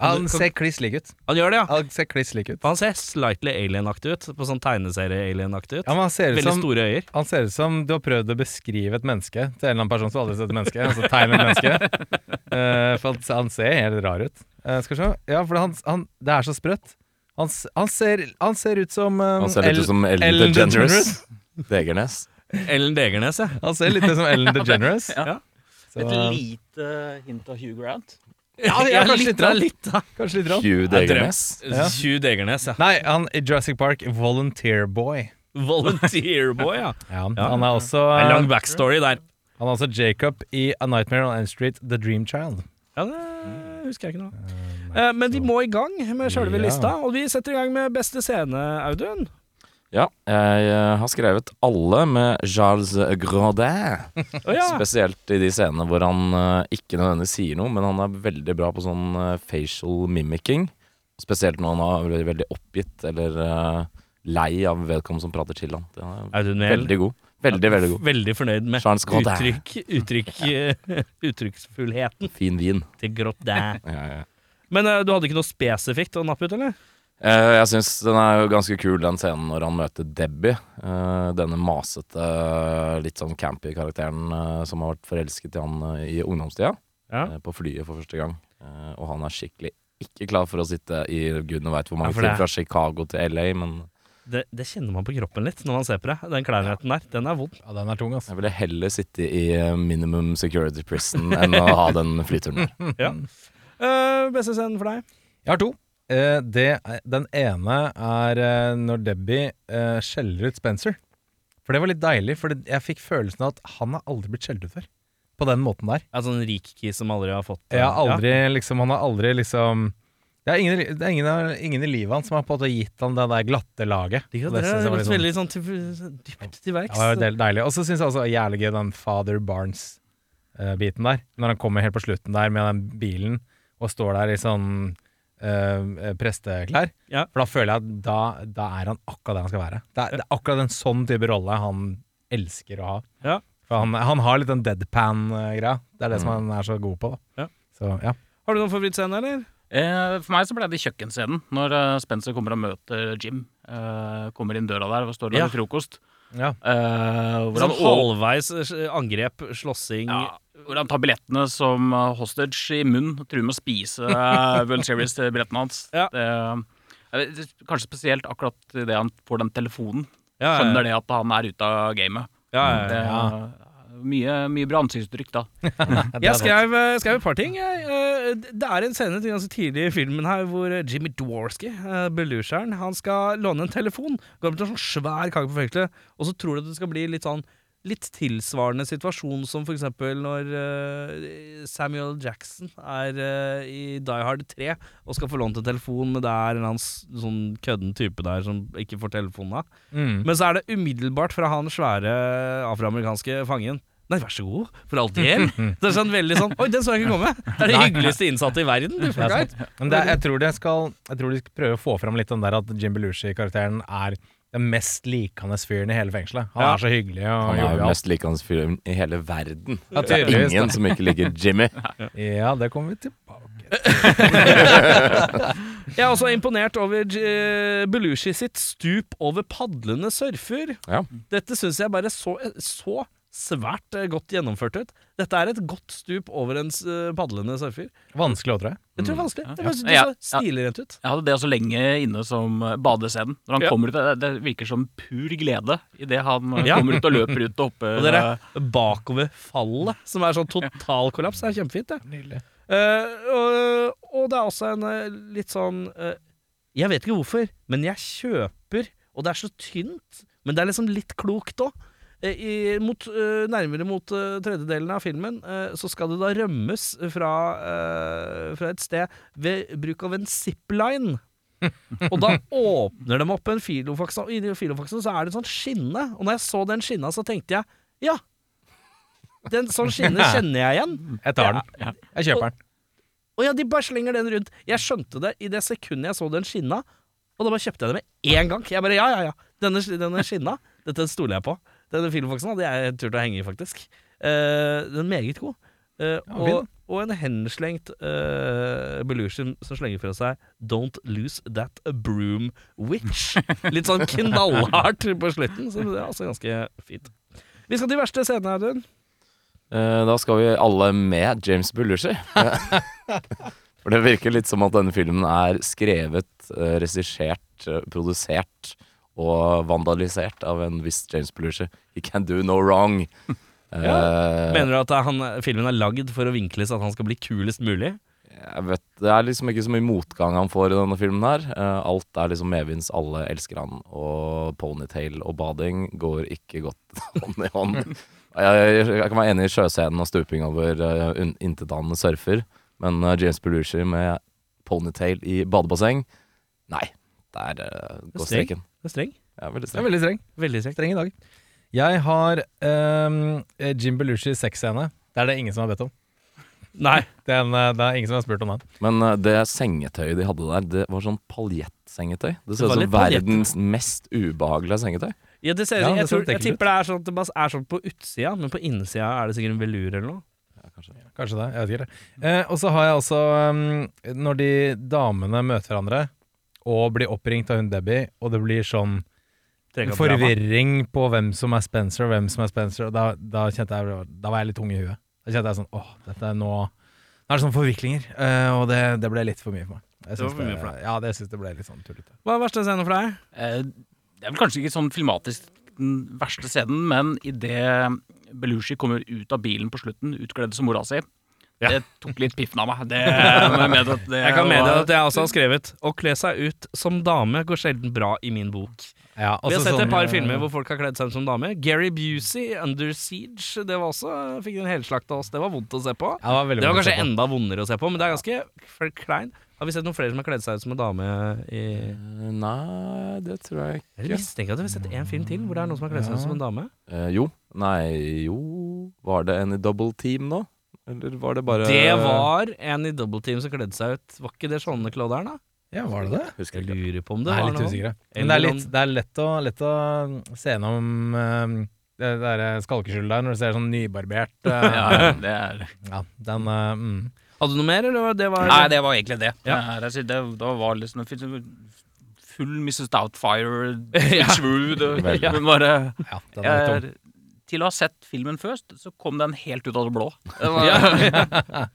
Speaker 4: Han ser kliss lik ut.
Speaker 1: Han gjør det, ja.
Speaker 4: Han ser kliss lik ut.
Speaker 1: Han ser slightly alien-aktig ut. På sånn tegneserie-alien-aktig ut.
Speaker 4: Ja, men han ser ut
Speaker 1: Veldig
Speaker 4: som
Speaker 1: store øyer.
Speaker 4: han ser ut som du har prøvd å beskrive et menneske til en eller annen person som aldri har sett et menneske. Altså tegne et menneske. Eh, for han, han ser helt rar ut. Eh, skal vi se. Ja, for han, han, det er så sprøtt. Han, s- han, ser, han ser ut som eh,
Speaker 3: Han ser litt ut som Ellen
Speaker 4: Ellen
Speaker 3: DeGeneres. Degernes.
Speaker 1: Ellen Degernes, ja.
Speaker 4: Han ser litt ut som Ellen DeGeneres.
Speaker 5: Ja.
Speaker 4: Så, eh,
Speaker 5: lite hint av Hugh Grant.
Speaker 1: Ja,
Speaker 4: ja, kanskje litt,
Speaker 1: da,
Speaker 4: da.
Speaker 1: litt da.
Speaker 4: kanskje litt rart.
Speaker 3: Hugh Degernes.
Speaker 4: Ja.
Speaker 1: Hugh Degernes, ja.
Speaker 4: Nei, han i Jurassic Park, Volunteer Boy.
Speaker 1: Volunteer-boy, ja.
Speaker 4: Ja,
Speaker 1: Ja.
Speaker 4: Han er også
Speaker 1: Det er
Speaker 4: eh,
Speaker 1: Lang backstory der.
Speaker 4: Han er også Jacob i A Nightmare on Elm Street, The Dream Child.
Speaker 1: Ja, det husker jeg ikke noe av. Mm. Eh, Men vi må i gang med sjølve
Speaker 4: Ja.
Speaker 1: lista, og vi setter i gang med beste scene, Audun.
Speaker 3: Ja, jeg eh, har skrevet alle med Charles Grodin.
Speaker 1: Å ja.
Speaker 3: Spesielt i de scenene hvor han eh, ikke nødvendigvis sier noe, men han er veldig bra på sånn eh, facial mimicking. Spesielt når han er veldig- veldig oppgitt eller eh, lei av vedkommende som prater til han. Det er
Speaker 1: Audun Mehl,
Speaker 3: veldig god. Veldig, veldig god.
Speaker 1: veldig fornøyd med
Speaker 3: Charles Grodin.
Speaker 1: uttrykk, uttrykk, eh, uttrykksfullheten
Speaker 3: Fin vin.
Speaker 1: til Grottin.
Speaker 3: Ja, ja, ja.
Speaker 1: Men eh, du hadde ikke noe spesifikt å nappe ut, eller?
Speaker 3: Eh, jeg syns den er jo ganske kul, den scenen når han møter Debbie. Eh, denne masete, litt sånn campy karakteren eh, som har vært forelsket i han eh, i ungdomstida.
Speaker 1: Ja.
Speaker 3: Eh, på flyet for første gang. Eh, og han er skikkelig ikke klar for å sitte i gudene veit hvor mange
Speaker 1: for det
Speaker 3: timer
Speaker 1: er-
Speaker 3: fra Chicago til LA, men
Speaker 1: Det, det kjenner man på kroppen litt når man ser på det. Den kleinheten der, den er vond.
Speaker 4: Ja, den er tung, altså.
Speaker 3: jeg ville heller sitte i eh, minimum security prison enn å ha den flyturen. der.
Speaker 1: Eh, beste scenen for deg?
Speaker 4: Jeg har to. Eh, det, er- den ene er eh, når Debbie eh, skjeller ut Spencer. For det var litt deilig, for det, jeg fikk følelsen av at han har aldri blitt skjelt ut før. På den måten der.
Speaker 1: Ja, sånn rik kis som aldri har fått eh,
Speaker 4: Jeg har aldri, liksom, han har aldri liksom det er, ingen, det er ingen, av- ingen i livet hans som har på en måte gitt han det der glatte laget.
Speaker 1: ja.
Speaker 4: Og
Speaker 1: Det
Speaker 4: synes jeg
Speaker 1: er
Speaker 4: var
Speaker 1: gått
Speaker 4: litt sånn-
Speaker 1: veldig sånn til, dypt til verks.
Speaker 4: Ja, det var del- deilig. Og så syns jeg også jævlig gøy den Father Barnes-biten der. Når han kommer helt på slutten der med den bilen og står der i sånn eh, presteklær.
Speaker 1: Ja.
Speaker 4: For da føler jeg at da, da er han akkurat der han skal være. Det er, det er akkurat en sånn type rolle han elsker å ha.
Speaker 1: Ja.
Speaker 4: For han, han har litt den deadpan-greia. Det er det som han er så god på.
Speaker 1: Mm. Ja.
Speaker 4: Da. Så ja.
Speaker 1: Har du noen favorittscene, eller?
Speaker 5: Eh, for meg så ble det kjøkkenscenen, når eh, Spencer kommer og møter Jim. Eh, kommer inn døra der og står og
Speaker 1: Ja.
Speaker 5: lager frokost.
Speaker 4: Ja.
Speaker 5: Eh, hvor,
Speaker 1: Sånn
Speaker 5: han, og,
Speaker 1: halvveis eh, angrep, slåssing
Speaker 5: ja, hvor han tar billettene som eh, hostage i munnen og truer med å spise eh, World Series-billetten hans.
Speaker 1: Ja.
Speaker 5: Det, eh, jeg vet, kanskje spesielt akkurat det han får den telefonen.
Speaker 1: Ja, ja, ja.
Speaker 5: Skjønner det at han er ute av gamet.
Speaker 1: Ja, ja,
Speaker 5: Det,
Speaker 1: ja.
Speaker 5: mye, mye bra ansiktsuttrykk da.
Speaker 1: Jeg skrev, eh, skrev et par ting. Jeg, eh, Det er en scene til ganske tidlig i filmen her hvor eh, Jimmy Dworsky, eh, beluseren, han skal låne en telefon. Går opp til en sånn svær kake på fengselet, og så tror du at det skal bli litt sånn Litt tilsvarende situasjon som f.eks. når eh, Samuel Jackson er eh, i Die Hard 3 og skal få lånt en telefon, men det er en eller annen s- sånn kødden type der som ikke får telefonen av.
Speaker 4: Mm.
Speaker 1: Men så er det umiddelbart fra han svære afroamerikanske fangen Nei, vær så god, for all del. Det er sånn veldig sånn Oi, den så jeg ikke komme! Det er det hyggeligste innsatte i verden. Du
Speaker 4: Det er
Speaker 1: fucker.
Speaker 4: Men det, er- jeg, tror det skal, jeg tror de skal prøve å få fram litt den der at Jim Belushi-karakteren er den mest likende fyren i hele fengselet. Han
Speaker 1: Ja.
Speaker 4: er så hyggelig og
Speaker 3: Han gjør
Speaker 4: jovial.
Speaker 3: den mest likende fyren i hele verden.
Speaker 4: Ja,
Speaker 3: Det er
Speaker 4: tydeligvis,
Speaker 3: ingen
Speaker 4: da.
Speaker 3: som ikke liker Jimmy.
Speaker 4: Ja, det kommer vi tilbake til.
Speaker 1: Jeg er også imponert over eh, Belushi sitt stup over padlende surfer.
Speaker 3: Ja.
Speaker 1: Dette syns jeg bare så, så svært eh, godt gjennomført ut. Dette er et godt stup over en eh, padlende surfer.
Speaker 4: Vanskelig å tro.
Speaker 1: Jeg tror det er vanskelig. Det, bare, det
Speaker 5: Mm. Ja.
Speaker 1: så stilig rent ut.
Speaker 5: Jeg hadde det så lenge inne som eh, badescenen. Når han
Speaker 1: Ja.
Speaker 5: kommer ut, det, det virker som pur glede idet han eh,
Speaker 1: Ja.
Speaker 5: kommer ut og løper ut og hopper.
Speaker 1: Og dere,
Speaker 5: eh,
Speaker 1: bakoverfallet, som er sånn total kollaps, er kjempefint, det. Eh, og, og det er også en eh, litt sånn eh, Jeg vet ikke hvorfor, men jeg kjøper Og det er så tynt, men det er liksom litt klokt òg. nærmere mot eh, tredjedelen av filmen eh, så skal det da rømmes fra, eh, fra et sted ved bruk av en zipline. og da åpner de opp en filofax, og inni filofaksen så er det en sånn skinne. Og når jeg så den skinna, så tenkte jeg ja, den sånn skinne kjenner jeg igjen.
Speaker 4: Jeg tar den. Jeg kjøper den.
Speaker 1: Å ja, de bare slenger den rundt. Jeg skjønte det i det sekundet jeg så den skinna, og da bare kjøpte jeg det med én gang. Jeg bare ja, ja, ja. Denne, denne skinna, dette stoler jeg på. Denne filofaksen hadde jeg tur til å henge i, faktisk. Eh, den er meget god. Eh, og,
Speaker 4: fin.
Speaker 1: og en henslengt uh, Belushi som slenger fra seg 'Don't lose that broom witch'. Litt sånn knallhardt på slutten, så det er altså ganske fint. Vi skal til verste scene, Audun.
Speaker 3: Eh, Da skal vi alle med James Belushi. For det virker litt som at denne filmen er skrevet, eh, regissert, eh, produsert og vandalisert av en viss James Belushi. He can do no wrong. Eh,
Speaker 1: Mener du at det er han, filmen er lagd for å vinkles at han skal bli kulest mulig?
Speaker 3: jeg vet, det er liksom ikke så mye motgang han får i denne filmen her. Eh, alt er liksom medvinds, alle elsker han, og ponytail og bading går ikke godt hånd i hånd. Jeg, jeg, jeg kan være enig i sjøscenen og stuping over uh, intetanende surfer, men eh, James Belushi med ponytail i badebasseng, nei, der eh, går
Speaker 1: Streng.
Speaker 3: streken.
Speaker 1: Det er streng.
Speaker 3: Ja, veldig
Speaker 4: Den er
Speaker 3: streng.
Speaker 4: veldig streng.
Speaker 1: Veldig streng.
Speaker 4: Streng i dag. Jeg har ehm, Jim Belushis sexscene. Det er det ingen som har bedt om.
Speaker 1: Nei.
Speaker 4: Den, eh, det er ingen som har spurt om den.
Speaker 3: Men eh, det sengetøyet de hadde der, det var sånn paljettsengetøy. Det ser
Speaker 1: var
Speaker 3: ut
Speaker 1: litt
Speaker 3: som verdens mest ubehagelige sengetøy.
Speaker 1: Ja, det ser,
Speaker 4: Ja,
Speaker 1: jeg,
Speaker 4: det ser
Speaker 1: tror,
Speaker 4: litt
Speaker 1: jeg
Speaker 4: ekkelt ut.
Speaker 1: tipper det er sånn at det bare er sånn på utsida, men på innsida er det sikkert en velur eller noe.
Speaker 4: Kanskje det. Jeg vet ikke. det. Eh, og så har jeg også ehm, Når de damene møter hverandre og blir oppringt av hun Debbie, og det blir sånn
Speaker 1: Trenger ikke å drama.
Speaker 4: forvirring på hvem som er Spencer og hvem som er Spencer, og da, da kjente jeg Da var jeg litt tung i huet. Da kjente jeg sånn Åh, dette er nå Nå er det sånne forviklinger, eh, og det, det ble litt for mye for meg.
Speaker 1: Det
Speaker 4: Jeg
Speaker 1: var
Speaker 4: syns
Speaker 1: for mye for
Speaker 4: Ja, det syns det ble litt sånn tullete.
Speaker 1: Hva er verste scenen for deg?
Speaker 5: eh, det er vel kanskje ikke sånn filmatisk den verste scenen, men idet Belushi kommer ut av bilen på slutten, utkledd som mora si, det tok litt piffen av meg. Det, jeg, mener at det
Speaker 1: Jeg kan meddele
Speaker 5: var-
Speaker 1: at jeg også har skrevet Å kle seg ut som dame går sjelden bra i min bok.
Speaker 4: Ja,
Speaker 1: Vi har
Speaker 4: også
Speaker 1: sett
Speaker 4: sånn,
Speaker 1: et par
Speaker 4: eh,
Speaker 1: filmer hvor folk har kledd seg ut som dame. Gary Busey, Under Siege, det var også Fikk en helslakt av oss. Det var vondt å se på.
Speaker 4: ja, det var, veldig
Speaker 1: Det var
Speaker 4: vondt å se
Speaker 1: kanskje
Speaker 4: på.
Speaker 1: enda vondere å se på, men det er ganske f- klein. Har vi sett noen flere som har kledd seg ut som en dame i
Speaker 3: Eh, Nei, det tror jeg ikke.
Speaker 1: Jeg mistenker at vi har sett en film til hvor det er noen som har kledd seg ut som en dame.
Speaker 3: Eh, jo. Nei, jo Var det en i double team nå? Eller var det bare
Speaker 1: Det var en i Double Team som kledde seg ut. Var ikke det Jeanne Claude her, da?
Speaker 4: Ja, var det det?
Speaker 3: Husker
Speaker 1: Jeg
Speaker 3: ikke.
Speaker 1: lurer på om det
Speaker 4: Jeg er
Speaker 1: var
Speaker 4: litt
Speaker 1: noe.
Speaker 4: usikker. jeg. Men
Speaker 1: Eller
Speaker 4: det er,
Speaker 1: om-
Speaker 4: litt, det er lett, å, lett å um, se gjennom eh, det derre skalkeskjullet der når du ser sånn nybarbert eh,
Speaker 5: ja, det er,
Speaker 4: Ja, den eh, mm.
Speaker 1: Hadde du noe mer, eller var det var
Speaker 5: Nei, det var egentlig det.
Speaker 1: Ja.
Speaker 5: Det, er- det, det var liksom en fin- full Mrs. Doubtfire, Switchwood
Speaker 3: Veldig.
Speaker 5: ja. Men bare
Speaker 4: Ja, den er
Speaker 5: jeg,
Speaker 4: tom.
Speaker 5: er- Til å ha sett filmen først, så kom den helt ut av det blå. Det var,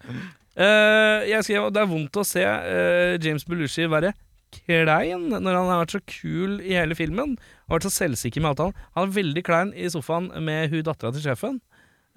Speaker 1: Eh, jeg skrev at det er vondt å se eh, James Belushi være klein når han har vært så kul i hele filmen. Og vært så selvsikker med avtalen. Han er veldig klein i sofaen med hun dattera til sjefen.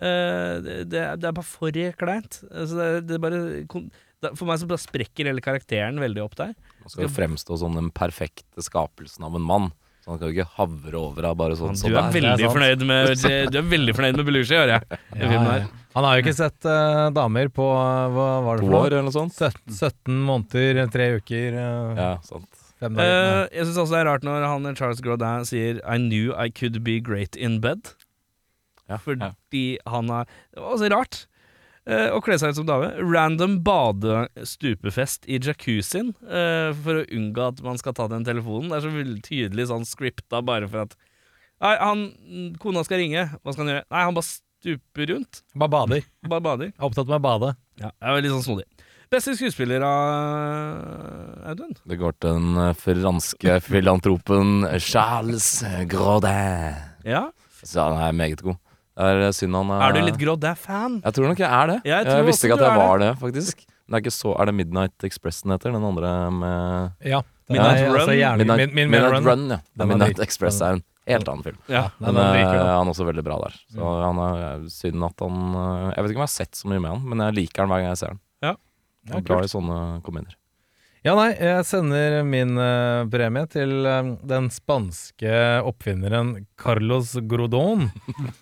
Speaker 1: Eh, det, det er- det er bare for kleint. Altså, det, er- det er bare kon- det, er- For meg så bare sprekker hele karakteren veldig opp der.
Speaker 3: Han skal jo fremstå som den perfekte skapelsen av en mann. Så han kan jo ikke havre over av bare sånn
Speaker 1: Du
Speaker 3: som
Speaker 1: er
Speaker 3: det
Speaker 1: veldig fornøyd med, du er veldig fornøyd med Belushi, hører jeg. i
Speaker 4: Ja,
Speaker 1: filmen
Speaker 4: ja.
Speaker 1: her.
Speaker 4: Han har jo ikke sett eh, damer på eh, hva var det
Speaker 3: To
Speaker 4: for
Speaker 3: år
Speaker 4: noe?
Speaker 3: eller noe sånt.
Speaker 4: 17, 17 måneder, tre uker, eh,
Speaker 3: Ja, sant.
Speaker 4: fem dager.
Speaker 1: Eh, jeg syns også det er rart når han Charles Grodin sier I knew I could be great in bed.
Speaker 3: Ja,
Speaker 1: Fordi han er Det var også rart. Eh, å kle seg ut som dame. Random badestupefest i jacuzzien eh, for å unngå at man skal ta den telefonen. Det er så veldig tydelig sånn scripta bare for at Nei, han, kona skal ringe. Hva skal han gjøre? Nei, han bare stuper rundt.
Speaker 4: Bare bader.
Speaker 1: Bare bader.
Speaker 4: Er Opptatt med å bade.
Speaker 1: Ja, det er veldig sånn snodig. Beste skuespiller av Audun?
Speaker 3: Det går til den eh, franske filantropen Charles Grodin.
Speaker 1: Ja?
Speaker 3: Så han er meget god. Det er eh, synd han
Speaker 1: Er du litt Grodin-fan?
Speaker 3: Jeg tror nok jeg er det.
Speaker 1: Jeg
Speaker 3: Jeg,
Speaker 1: tror også
Speaker 3: visste
Speaker 1: du
Speaker 3: ikke at jeg
Speaker 1: er
Speaker 3: var det, faktisk. Men det er ikke så Er det Midnight Express den heter? Den andre med
Speaker 4: Ja. den
Speaker 1: Midnight
Speaker 4: er- altså,
Speaker 1: Run.
Speaker 4: gjerne-
Speaker 3: Midnight,
Speaker 4: min, min,
Speaker 3: Midnight
Speaker 4: Run.
Speaker 3: Run. ja.
Speaker 4: Den var
Speaker 3: Midnight
Speaker 4: drit.
Speaker 3: Express er en helt annen film.
Speaker 1: Ja. Mm.
Speaker 4: Nei,
Speaker 3: Men
Speaker 4: den
Speaker 3: eh,
Speaker 4: liker du.
Speaker 3: han er også veldig bra der. Så han er synd at han eh, Jeg vet ikke om jeg har sett så mye med han, men jeg liker han hver gang jeg ser han.
Speaker 1: Ja.
Speaker 3: Han er bra i sånne komedier.
Speaker 4: Ja, nei, jeg sender min eh, premie til eh, den spanske oppfinneren Carlos Grodon.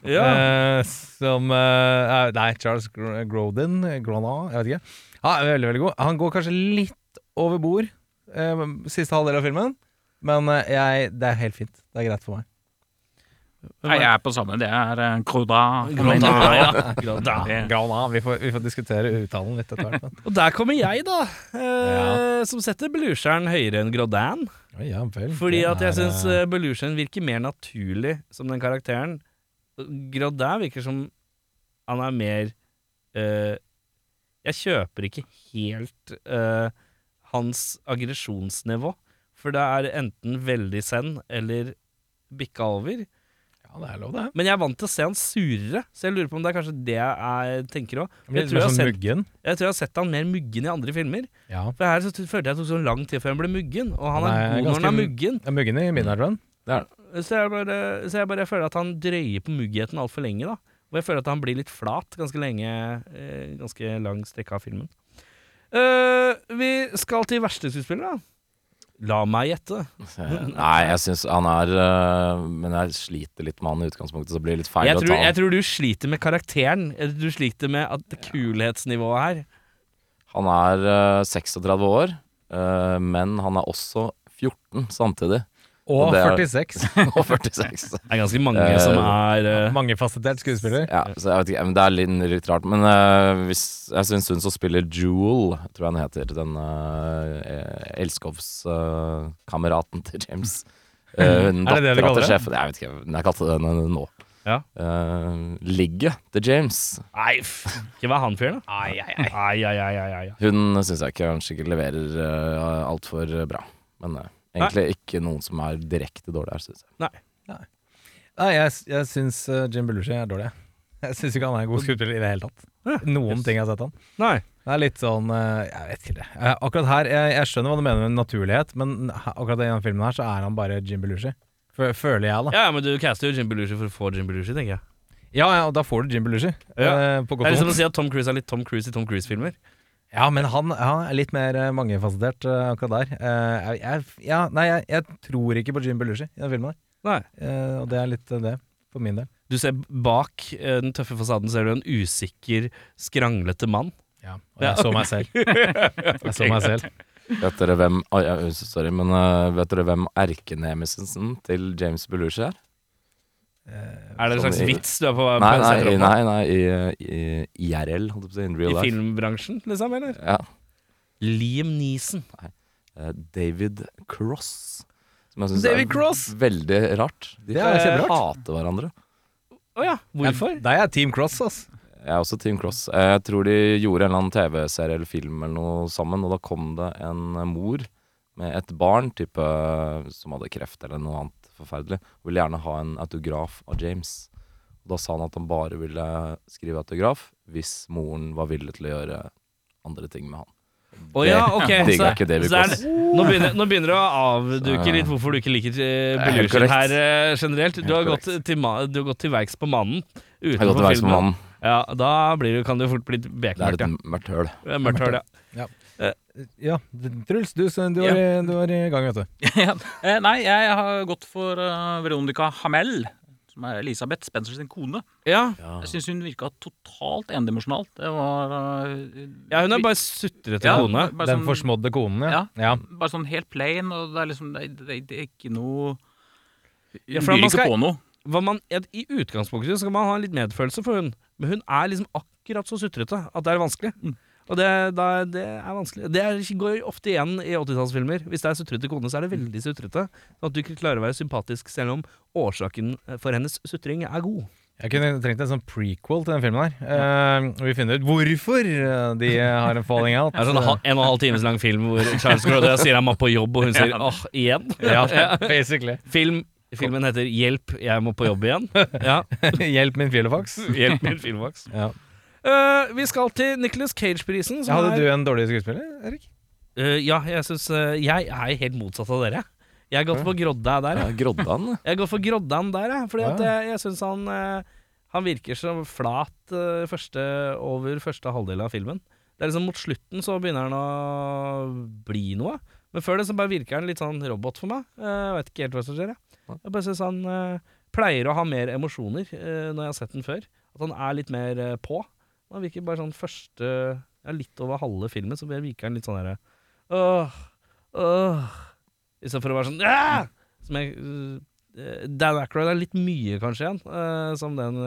Speaker 1: Ja.
Speaker 4: Eh, som eh, er- Nei, Charles Gro- Grodin eh, Grodin, jeg vet ikke. Ja, er veldig, veldig god. Han går kanskje litt over bord eh, siste halvdel av filmen, men eh, jeg, det er helt fint. Det er greit for meg.
Speaker 5: nei, jeg er på samme. Det er eh, Groda.
Speaker 1: Grodin, ja.
Speaker 5: Det-
Speaker 4: Grodin, vi, får, vi får diskutere uttalen litt etter hvert. Men.
Speaker 1: Og der kommer jeg, da. Eh, Som setter Belusheren høyere enn Grodin.
Speaker 4: Oi, ja, vel,
Speaker 1: Fordi
Speaker 4: det
Speaker 1: at jeg
Speaker 4: er,
Speaker 1: syns
Speaker 4: eh,
Speaker 1: Belusheren virker mer naturlig som den karakteren. Grodin virker som han er mer eh, Jeg kjøper ikke helt eh, hans aggresjonsnivå. For det er enten veldig send eller bikka over.
Speaker 4: Ja, det er lov, det.
Speaker 1: Men jeg er vant til å se han surere, så jeg lurer på om det er kanskje det jeg tenker òg.
Speaker 4: Jeg blir
Speaker 1: Jeg
Speaker 4: litt
Speaker 1: tror jeg
Speaker 4: mer
Speaker 1: har
Speaker 4: sånn
Speaker 1: sett-
Speaker 4: muggen.
Speaker 1: Jeg tror jeg har sett han mer muggen i andre filmer.
Speaker 4: Ja.
Speaker 1: For her så t- følte jeg det tok så lang tid før han ble muggen, og han er
Speaker 4: Han er
Speaker 1: god når han er
Speaker 4: ganske-
Speaker 1: muggen.
Speaker 4: Ja, Muggen i Midnight Run.
Speaker 1: Så jeg bare, så jeg bare føler at han drøyer på muggheten altfor lenge, da. Og jeg føler at han blir litt flat ganske lenge, eh, ganske lang strekke av filmen. Eh, vi skal til verste skuespiller, da. La meg gjette.
Speaker 3: Nei, jeg syns han er eh, Men jeg sliter litt med han i utgangspunktet, så det blir litt feil
Speaker 1: Jeg
Speaker 3: å
Speaker 1: tror,
Speaker 3: ta han.
Speaker 1: jeg tror du sliter med karakteren. Jeg tror Du sliter med at kulhetsnivået her.
Speaker 3: Han er eh, 36 år, eh, men han er også 14 samtidig. Og
Speaker 4: Og
Speaker 3: det er-
Speaker 4: 46.
Speaker 3: Og 46.
Speaker 1: Det er ganske mange
Speaker 3: Eh,
Speaker 1: som er eh,
Speaker 4: Mangefasettert skuespiller.
Speaker 3: Ja, så jeg vet ikke, men Det er litt, litt rart. Men eh, hvis, jeg syns hun som spiller Jewel, tror jeg han heter, den uh, elskovskameraten til James eh, Hun
Speaker 4: Er det det du
Speaker 3: dattera til
Speaker 4: kaller det?
Speaker 3: sjefen Jeg vet ikke, men jeg kalte den henne nå.
Speaker 1: Ja.
Speaker 3: Eh, Ligget til James.
Speaker 1: Nei, f ikke vær han fyren, da. Ai, ai, ai, ai, ai, ai, ai.
Speaker 3: Hun syns jeg ikke kanskje ikke leverer uh, altfor bra. Men eh, egentlig ikke noen som er direkte dårlig her, syns jeg.
Speaker 4: Nei, jeg, jeg syns eh, Jim Belushi er dårlig. jeg. Jeg syns ikke han er en god skuespiller i det hele tatt.
Speaker 1: Ja,
Speaker 4: Noen ting jeg har sett han.
Speaker 1: Nei.
Speaker 4: Det er litt sånn eh, Jeg vet ikke det. Eh, Akkurat her, jeg, jeg skjønner hva du mener med naturlighet, men he- akkurat i denne filmen her så er han bare Jim Belushi. Fø- Føler jeg, da.
Speaker 1: Ja, men du caster jo Jim Belushi for å få Jim Belushi, tenker jeg.
Speaker 4: Ja, ja, og da får du Jim Belushi.
Speaker 1: Ja.
Speaker 4: eh, På
Speaker 1: Det er
Speaker 4: godt og
Speaker 1: liksom å
Speaker 4: vondt.
Speaker 1: si at Tom Cruise er litt Tom Cruise i Tom Cruise-filmer.
Speaker 4: Ja, men han, han er litt mer eh, mangefasettert eh, akkurat der. Eh, jeg- jeg, ja, nei, jeg, jeg tror ikke på Jim Belushi i denne filmen. her.
Speaker 1: Nei.
Speaker 4: Eh, og det er litt eh, det, for min del.
Speaker 1: Du ser bak eh, den tøffe fasaden ser du en usikker, skranglete mann.
Speaker 4: Ja, og jeg så meg selv. Jeg så meg selv.
Speaker 3: Vet dere hvem Oi, ja, Sorry, men eh, vet dere hvem erkenemesisen til James Belushi er?
Speaker 1: Er det en
Speaker 3: Sånn
Speaker 1: slags
Speaker 3: i-
Speaker 1: vits du er på?
Speaker 3: Nei,
Speaker 1: på-
Speaker 3: nei,
Speaker 1: setter opp på?
Speaker 3: nei, nei i, i IRL, holdt jeg på å si. In real
Speaker 1: I
Speaker 3: life.
Speaker 1: filmbransjen, liksom? eller?
Speaker 3: Ja.
Speaker 1: Liam Neeson.
Speaker 3: Eh, David Cross. Som jeg synes
Speaker 1: David Cross?
Speaker 3: er veldig rart. De
Speaker 4: Det er kjemperart.
Speaker 3: hater hverandre.
Speaker 1: Å ja, hvorfor?
Speaker 4: Jeg, da er jeg Team Cross, ass.
Speaker 3: Jeg er også Team Cross. Eh, Jeg tror de gjorde en eller annen TV-serie eller film eller noe sammen, og da kom det en mor med et barn type, som hadde kreft eller noe annet forferdelig, og ville gjerne ha en autograf av James. Og da sa han at han bare ville skrive autograf hvis moren var villig til å gjøre andre ting med han.
Speaker 1: Å ja, ok.
Speaker 3: digger
Speaker 1: så-
Speaker 3: ikke David
Speaker 1: så er
Speaker 3: Cross.
Speaker 1: det- Nå begynner, nå begynner du å avduke litt hvorfor du ikke liker eh,
Speaker 3: er helt
Speaker 1: Belushi
Speaker 3: korrekt.
Speaker 1: her eh, generelt. Du har,
Speaker 3: Helt
Speaker 1: gått til, ma- du har gått til verks på mannen.
Speaker 3: Jeg har gått til
Speaker 1: Utenfor
Speaker 3: verks med
Speaker 1: filmen.
Speaker 3: mannen.
Speaker 1: Ja, da blir det, kan det jo fort bli litt
Speaker 3: Det er
Speaker 1: bekmørkt.
Speaker 3: et
Speaker 1: Ja.
Speaker 3: mørkt høl.
Speaker 1: Det er Mørkt høl, ja.
Speaker 4: Ja, Truls, du, så- du, var, du var i gang, vet du.
Speaker 5: Ja. Eh, Nei, jeg har gått for eh, Veronica Hamel, som er Elisabeth Spencer sin kone.
Speaker 1: ja.
Speaker 4: Ah.
Speaker 5: Jeg syns hun virka totalt endimensjonal. Det var eh,
Speaker 1: Ja, hun er bare sutrete
Speaker 5: Ja,
Speaker 1: kone.
Speaker 5: bare
Speaker 4: Den
Speaker 5: sånn-
Speaker 4: forsmådde konen, ja. ja.
Speaker 5: Bare sånn helt plain, og det er liksom Det, det, det er ikke noe Hun
Speaker 1: Ja, for
Speaker 5: byr
Speaker 1: man
Speaker 5: ikke
Speaker 1: skal-
Speaker 5: på noe.
Speaker 1: Hva man, I utgangspunktet skal man ha litt medfølelse for hun, men hun er liksom akkurat så sutrete at det er vanskelig. Og det, da- det er vanskelig. Det er, går ofte igjen i 80-tallsfilmer. Hvis det er sutrete kone, så er det veldig sutrete. Sånn at du ikke klarer å være sympatisk selv om årsaken for hennes sutring er god.
Speaker 4: Jeg kunne trengt en sånn prequel til den filmen her. Eh, og vi finner ut hvorfor eh, de har en falling out.
Speaker 1: Det er sånn hal- en og en halv times lang film hvor Charles Grodin sier jeg må på jobb, og hun sier åh, igjen?
Speaker 4: ja, basically.
Speaker 1: Film, filmen heter 'Hjelp, jeg må på jobb igjen'. Ja,
Speaker 4: Hjelp min filofax.
Speaker 1: Hjelp min filmvaks.
Speaker 4: Ja.
Speaker 1: Eh, vi skal til Nicholas Cage-prisen. som
Speaker 4: Hadde
Speaker 1: er-
Speaker 4: du en dårlig skuespiller, Erik?
Speaker 1: Eh, ja, jeg syns eh, Jeg er helt motsatt av dere. Jeg har gått for Grodda der,
Speaker 3: Ja,
Speaker 1: jeg.
Speaker 3: grodde han? da.
Speaker 1: Jeg går for Groddan der, jeg. Fordi at
Speaker 4: Ja.
Speaker 1: jeg, jeg syns han eh, Han virker så flat eh, første, over første halvdel av filmen. Det er liksom Mot slutten så begynner han å bli noe. Men før det så bare virker han litt sånn robot for meg. Eh, Jeg vet ikke helt hva som skjer, jeg. Jeg bare syns han eh, pleier å ha mer emosjoner eh, når jeg har sett den før. At han er litt mer eh, på. Han virker bare sånn første Ja, litt over halve filmen, så virker han litt sånn derre Åh, åh Istedenfor å være sånn «Ah!» Som jeg øh, Dan Aykroyd er litt mye, kanskje, igjen. øh, som den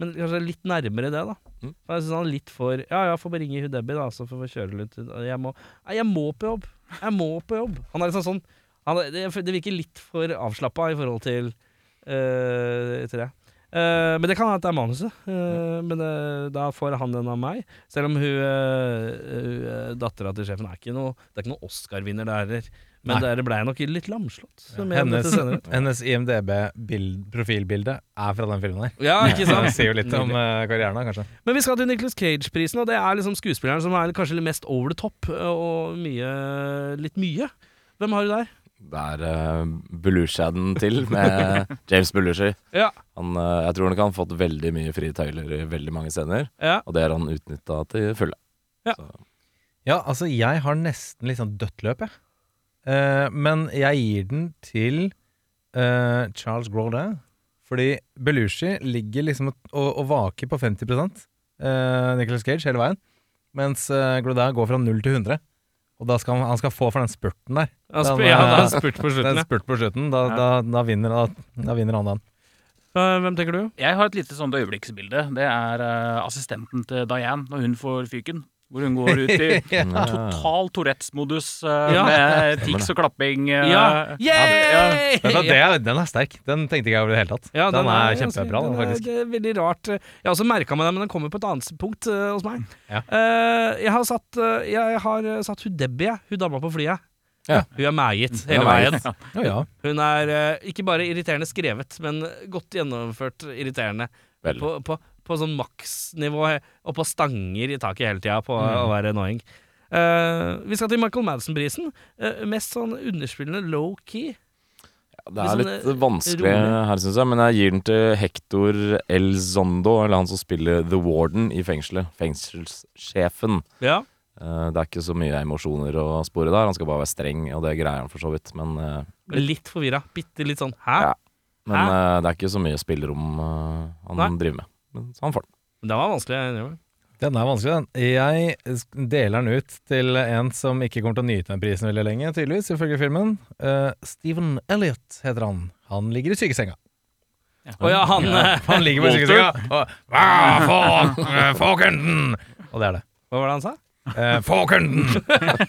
Speaker 1: Men kanskje litt nærmere det, da.
Speaker 3: Mm.
Speaker 1: For jeg syns han er litt for Ja, ja, får bare ringe hun Debbie, da, så får vi kjøre litt Jeg må Nei, jeg må på jobb. Jeg må på jobb. Han er liksom sånn han, er- det, det virker litt for avslappa i forhold til øh, til det. Eh, men det kan hende at det er manuset. Eh, Men det, da får han den av meg. Selv om hun, uh, dattera til sjefen er ikke noe Det er ikke noe Oscar-vinner der heller. Men
Speaker 4: Nei.
Speaker 1: der ble jeg nok litt lamslått. som jeg
Speaker 4: Hennes,
Speaker 1: dette senere.
Speaker 4: hennes IMDb-profilbilde er fra den filmen her.
Speaker 1: Ja, ikke sant?
Speaker 4: Det sier jo litt om eh, karrieren, da, kanskje.
Speaker 1: Men vi skal til Nicholas Cage-prisen, og det er liksom skuespilleren som er kanskje litt mest over the top, og mye litt mye. Hvem har du der?
Speaker 3: Det er uh, Belushi-den til med James Belushi.
Speaker 1: Ja.
Speaker 3: Han, eh, jeg tror nok han har fått veldig mye frie tøyler i veldig mange scener,
Speaker 1: ja.
Speaker 3: og det har han utnytta til fulle.
Speaker 4: Ja, altså, jeg har nesten litt sånn dødt løp, jeg. Eh, men jeg gir den til eh, Charles Grodin. Fordi Belushi ligger liksom og, og, og vaker på 50 uh, Nicholas Cage hele veien. Mens uh, Grodin går fra 0 til 100. Og da skal han, han skal få for den spurten der.
Speaker 1: Han
Speaker 4: Den,
Speaker 1: sp ja,
Speaker 4: eh,
Speaker 1: han har spurt på
Speaker 4: Den
Speaker 1: slutten. ja.
Speaker 4: spurt på slutten. Da, da, da, vinner, da, da vinner han den.
Speaker 1: Eh, Hvem tenker du?
Speaker 5: Jeg har et lite sånt øyeblikksbilde. Det er eh, assistenten til Diane når hun får fyken. Hvor hun går ut i total Tourettes-modus eh,
Speaker 1: Ja.
Speaker 5: med tics og klapping. eh,
Speaker 1: Ja! Yay!
Speaker 4: Vet du hva, det er, den er sterk. Den tenkte ikke jeg over i det hele tatt.
Speaker 1: Ja,
Speaker 4: den, er,
Speaker 1: ganske-
Speaker 4: kjempebra,
Speaker 1: den
Speaker 4: den,
Speaker 1: er-
Speaker 4: faktisk.
Speaker 1: Det er veldig rart. Jeg har også merka meg det, men den kommer på et annet punkt eh, hos meg.
Speaker 4: Ja.
Speaker 1: Eh, jeg har satt, uh, jeg har eh, satt hun Debbie, jeg. hun dama på flyet.
Speaker 3: Ja.
Speaker 1: Hun er meget hele
Speaker 3: Hun er meget.
Speaker 1: veien.
Speaker 4: Ja, ja.
Speaker 1: Hun er eh, ikke bare irriterende skrevet, men godt gjennomført irriterende.
Speaker 3: Veldig.
Speaker 1: På, på, på sånn maksnivå eh, og på stanger i taket hele tida på å være annoying. Eh, vi skal til Michael Madsen-prisen. Eh, mest sånn underspillende low-key.
Speaker 3: Ja, Det er
Speaker 1: Litt sånn,
Speaker 3: litt vanskelig
Speaker 1: rolig.
Speaker 3: her, syns jeg, men jeg gir den til Hector Elzondo, eller han som spiller The Warden i fengselet. Fengselssjefen.
Speaker 1: Ja.
Speaker 3: Eh, Det er ikke så mye emosjoner å spore der, han skal bare være streng, og det greier han for så vidt. Men, eh,
Speaker 1: Litt forvirra. Bitte litt sånn hæ?
Speaker 3: Ja. men
Speaker 1: Hæ?
Speaker 3: eh, det er ikke så mye spillerom eh, han
Speaker 1: Nei.
Speaker 3: driver med. Men så han får den.
Speaker 1: Den var vanskelig. jeg innrømmer.
Speaker 4: Den er vanskelig, den. Jeg sk- deler den ut til en som ikke kommer til å nyte den prisen veldig lenge, tydeligvis, ifølge filmen. Eh, Stephen Elliot heter han. Han ligger i sykesenga.
Speaker 1: Å ja, han eh,
Speaker 4: Han ligger bare i sykesenga og «Ah, Få, eh, få kunden! Og det er det.
Speaker 1: Hva var det han sa?
Speaker 4: Eh, få kunden!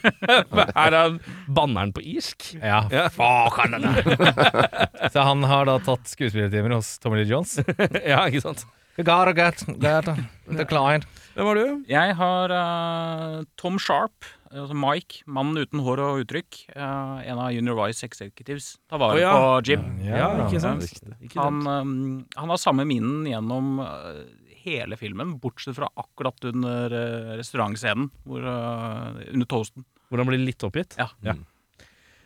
Speaker 1: Er han banneren på irsk?
Speaker 4: Ja, få kunden! Så han har da tatt skuespillertimer hos Tommy Lee Jones.
Speaker 1: ja, ikke sant?
Speaker 4: You gotta get, get the client.
Speaker 1: Hvem var du?
Speaker 5: Jeg har eh, Tom Sharp, altså Mike, mannen uten hår og uttrykk, eh, en av Junior Vice Executives, tar vare
Speaker 1: Å, ja.
Speaker 5: på Jib.
Speaker 1: Ja, ikke sant?
Speaker 3: riktig.
Speaker 1: Ikke
Speaker 5: Han,
Speaker 1: dumt.
Speaker 5: eh, han har samme minen gjennom eh, hele filmen, bortsett fra akkurat under eh, restaurantscenen, hvor, eh, under toasten.
Speaker 1: Hvor han blir litt oppgitt.
Speaker 5: Ja.
Speaker 1: ja.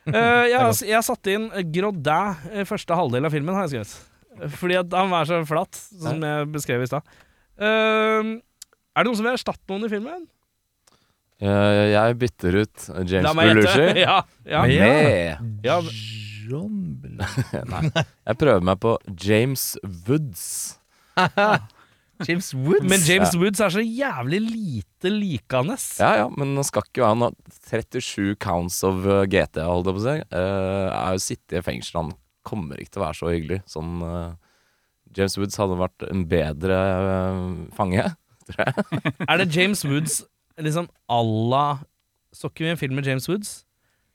Speaker 1: Eh, jeg, har- jeg satte inn Grodin i første halvdel av filmen, har jeg skrevet. Fordi at han er så flat, som jeg beskrev i stad. Eh, er det noen som vil erstatte noen i filmen?
Speaker 3: Eh, jeg bytter ut eh, James
Speaker 1: La meg gjette.
Speaker 3: Belushi
Speaker 1: Ja, ja.
Speaker 4: Med-
Speaker 3: med
Speaker 1: ja.
Speaker 4: John Belushi.
Speaker 3: Jeg prøver meg på James Woods.
Speaker 4: James Woods.
Speaker 1: Men James Woods er så jævlig lite likende.
Speaker 3: Ja ja, men nå skal ikke han ha 37 counts of eh, GT, holdt jeg på å si. Eh, er jo sittet i fengsel, han kommer ikke til å være så hyggelig. Sånn eh, James Woods hadde vært en bedre eh, fange.
Speaker 1: Er det James Woods liksom à la Så ikke vi en film med James Woods?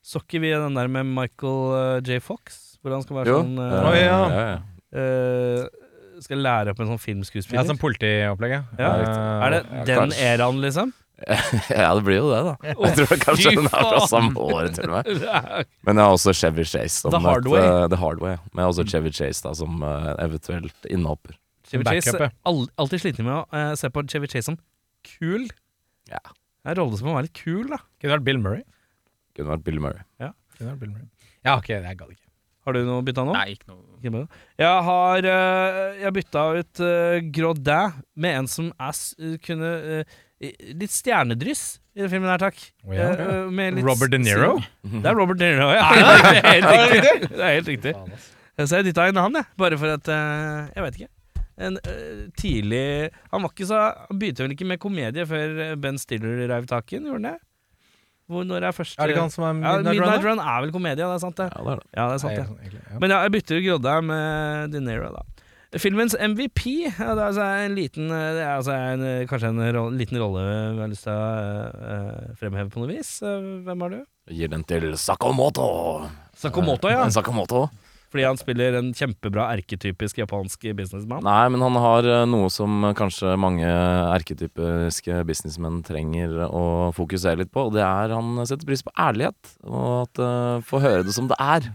Speaker 1: Så ikke vi den der med Michael eh, J. Fox? Hvor han skal være sånn
Speaker 3: eh,
Speaker 4: Å,
Speaker 1: eh,
Speaker 4: ja.
Speaker 1: eh, Skal lære opp en sånn
Speaker 4: Ja,
Speaker 1: filmskuespiller?
Speaker 4: sånn politiopplegget.
Speaker 1: Ja,
Speaker 4: Eh,
Speaker 1: er det
Speaker 3: Ja,
Speaker 1: den
Speaker 3: kanskje.
Speaker 1: eraen, liksom?
Speaker 3: ja, det blir jo det, da. Jeg tror kanskje
Speaker 1: fy
Speaker 3: den er fra
Speaker 1: faen!
Speaker 3: samme året til og med.
Speaker 1: Det er-
Speaker 3: Men jeg har også Chevy Chase. Som
Speaker 1: The
Speaker 3: et,
Speaker 1: Hard Way.
Speaker 3: eh, the hard way. Men jeg har også Chevy Chase da, som eh, eventuelt innhopper.
Speaker 1: Chevy
Speaker 4: Backup,
Speaker 1: Chase
Speaker 4: ja.
Speaker 1: all, Alltid sliten med å eh, se på Chevy Chase som kul.
Speaker 3: Ja.
Speaker 1: Det er en rolle som må være litt kul, da.
Speaker 4: Kunne vært Bill Murray.
Speaker 3: Kunne vært Bill Murray.
Speaker 4: Kunne vært Bill Murray. Ja, ok, jeg gadd ikke.
Speaker 1: Har du noe bytta nå?
Speaker 5: Nei, ikke noe
Speaker 1: Ikke med det. Jeg har eh, Jeg bytta ut eh, Grodin med en som er, s- kunne eh, Litt stjernedryss i denne filmen her, takk.
Speaker 4: Å, ja.
Speaker 1: Eh, eh, med litt
Speaker 4: Robert De Niro?
Speaker 1: Det er Robert De Niro, ja. Det er helt riktig. Det er helt riktig. Så jeg dytta inn han, jeg. Bare for at eh, Jeg vet ikke. En eh, tidlig Han var ikke så Han begynte vel ikke med komedie før eh, Ben Stiller reiv tak i den, gjorde han det? Hvor når er første
Speaker 4: Er det ikke han som er
Speaker 1: Ja,
Speaker 4: Midnight,
Speaker 1: Midnight
Speaker 4: Runner?
Speaker 1: Run er vel komedie, det er sant det.
Speaker 3: Ja, det er det.
Speaker 1: Ja, det er sant
Speaker 4: Nei, sånn,
Speaker 1: det.
Speaker 4: egentlig, ja.
Speaker 1: Men ja, jeg bytter jo Grodde med De Niro, da. Filmens MVP ja, det er altså en liten, eh, det er altså en, eh, kanskje en roll, liten rolle vi har lyst til å eh, eh, fremheve på noe vis. Eh, Hvem er du?
Speaker 3: Gir den til Sakamoto.
Speaker 1: Sakamoto, ja.
Speaker 3: Eh, Sakamoto.
Speaker 1: Fordi han spiller en kjempebra erketypisk japansk businessman.
Speaker 3: Nei, men han har eh, noe som kanskje mange erketypiske businessmenn trenger å fokusere litt på. Og det er han setter pris på ærlighet, og at uh, få høre det som det er.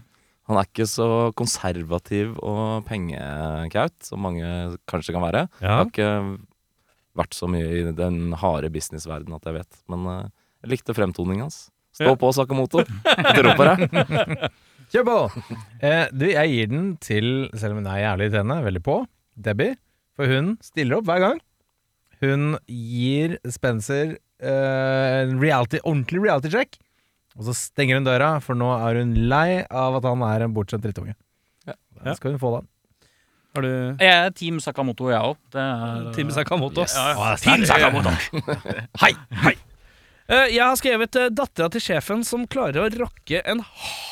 Speaker 3: Han er ikke så konservativ og pengekaut som mange kanskje kan være.
Speaker 1: Ja.
Speaker 3: Jeg har ikke vært så mye i den harde businessverdenen at jeg vet. Men eh, jeg likte fremtoningen hans. Stå
Speaker 1: Ja.
Speaker 3: på, Sakamoto. Jeg tror på deg.
Speaker 4: Kjør på! Eh, du, jeg gir den til, selv om hun er jævlig irriterende, veldig på, Debbie. For hun stiller opp hver gang. Hun gir Spencer eh, en reality, ordentlig reality check. Og så stenger hun døra, for nå er hun lei av at han er en bortskjemt drittunge. Da skal hun få den.
Speaker 1: Har du
Speaker 5: Jeg er Team Sakamoto, jeg òg. Det er
Speaker 1: Team Sakamoto?
Speaker 4: Å, det er
Speaker 1: Team Sakamoto! Hei! Hei! Eh, Jeg har skrevet uh, dattera til sjefen som klarer å rocke en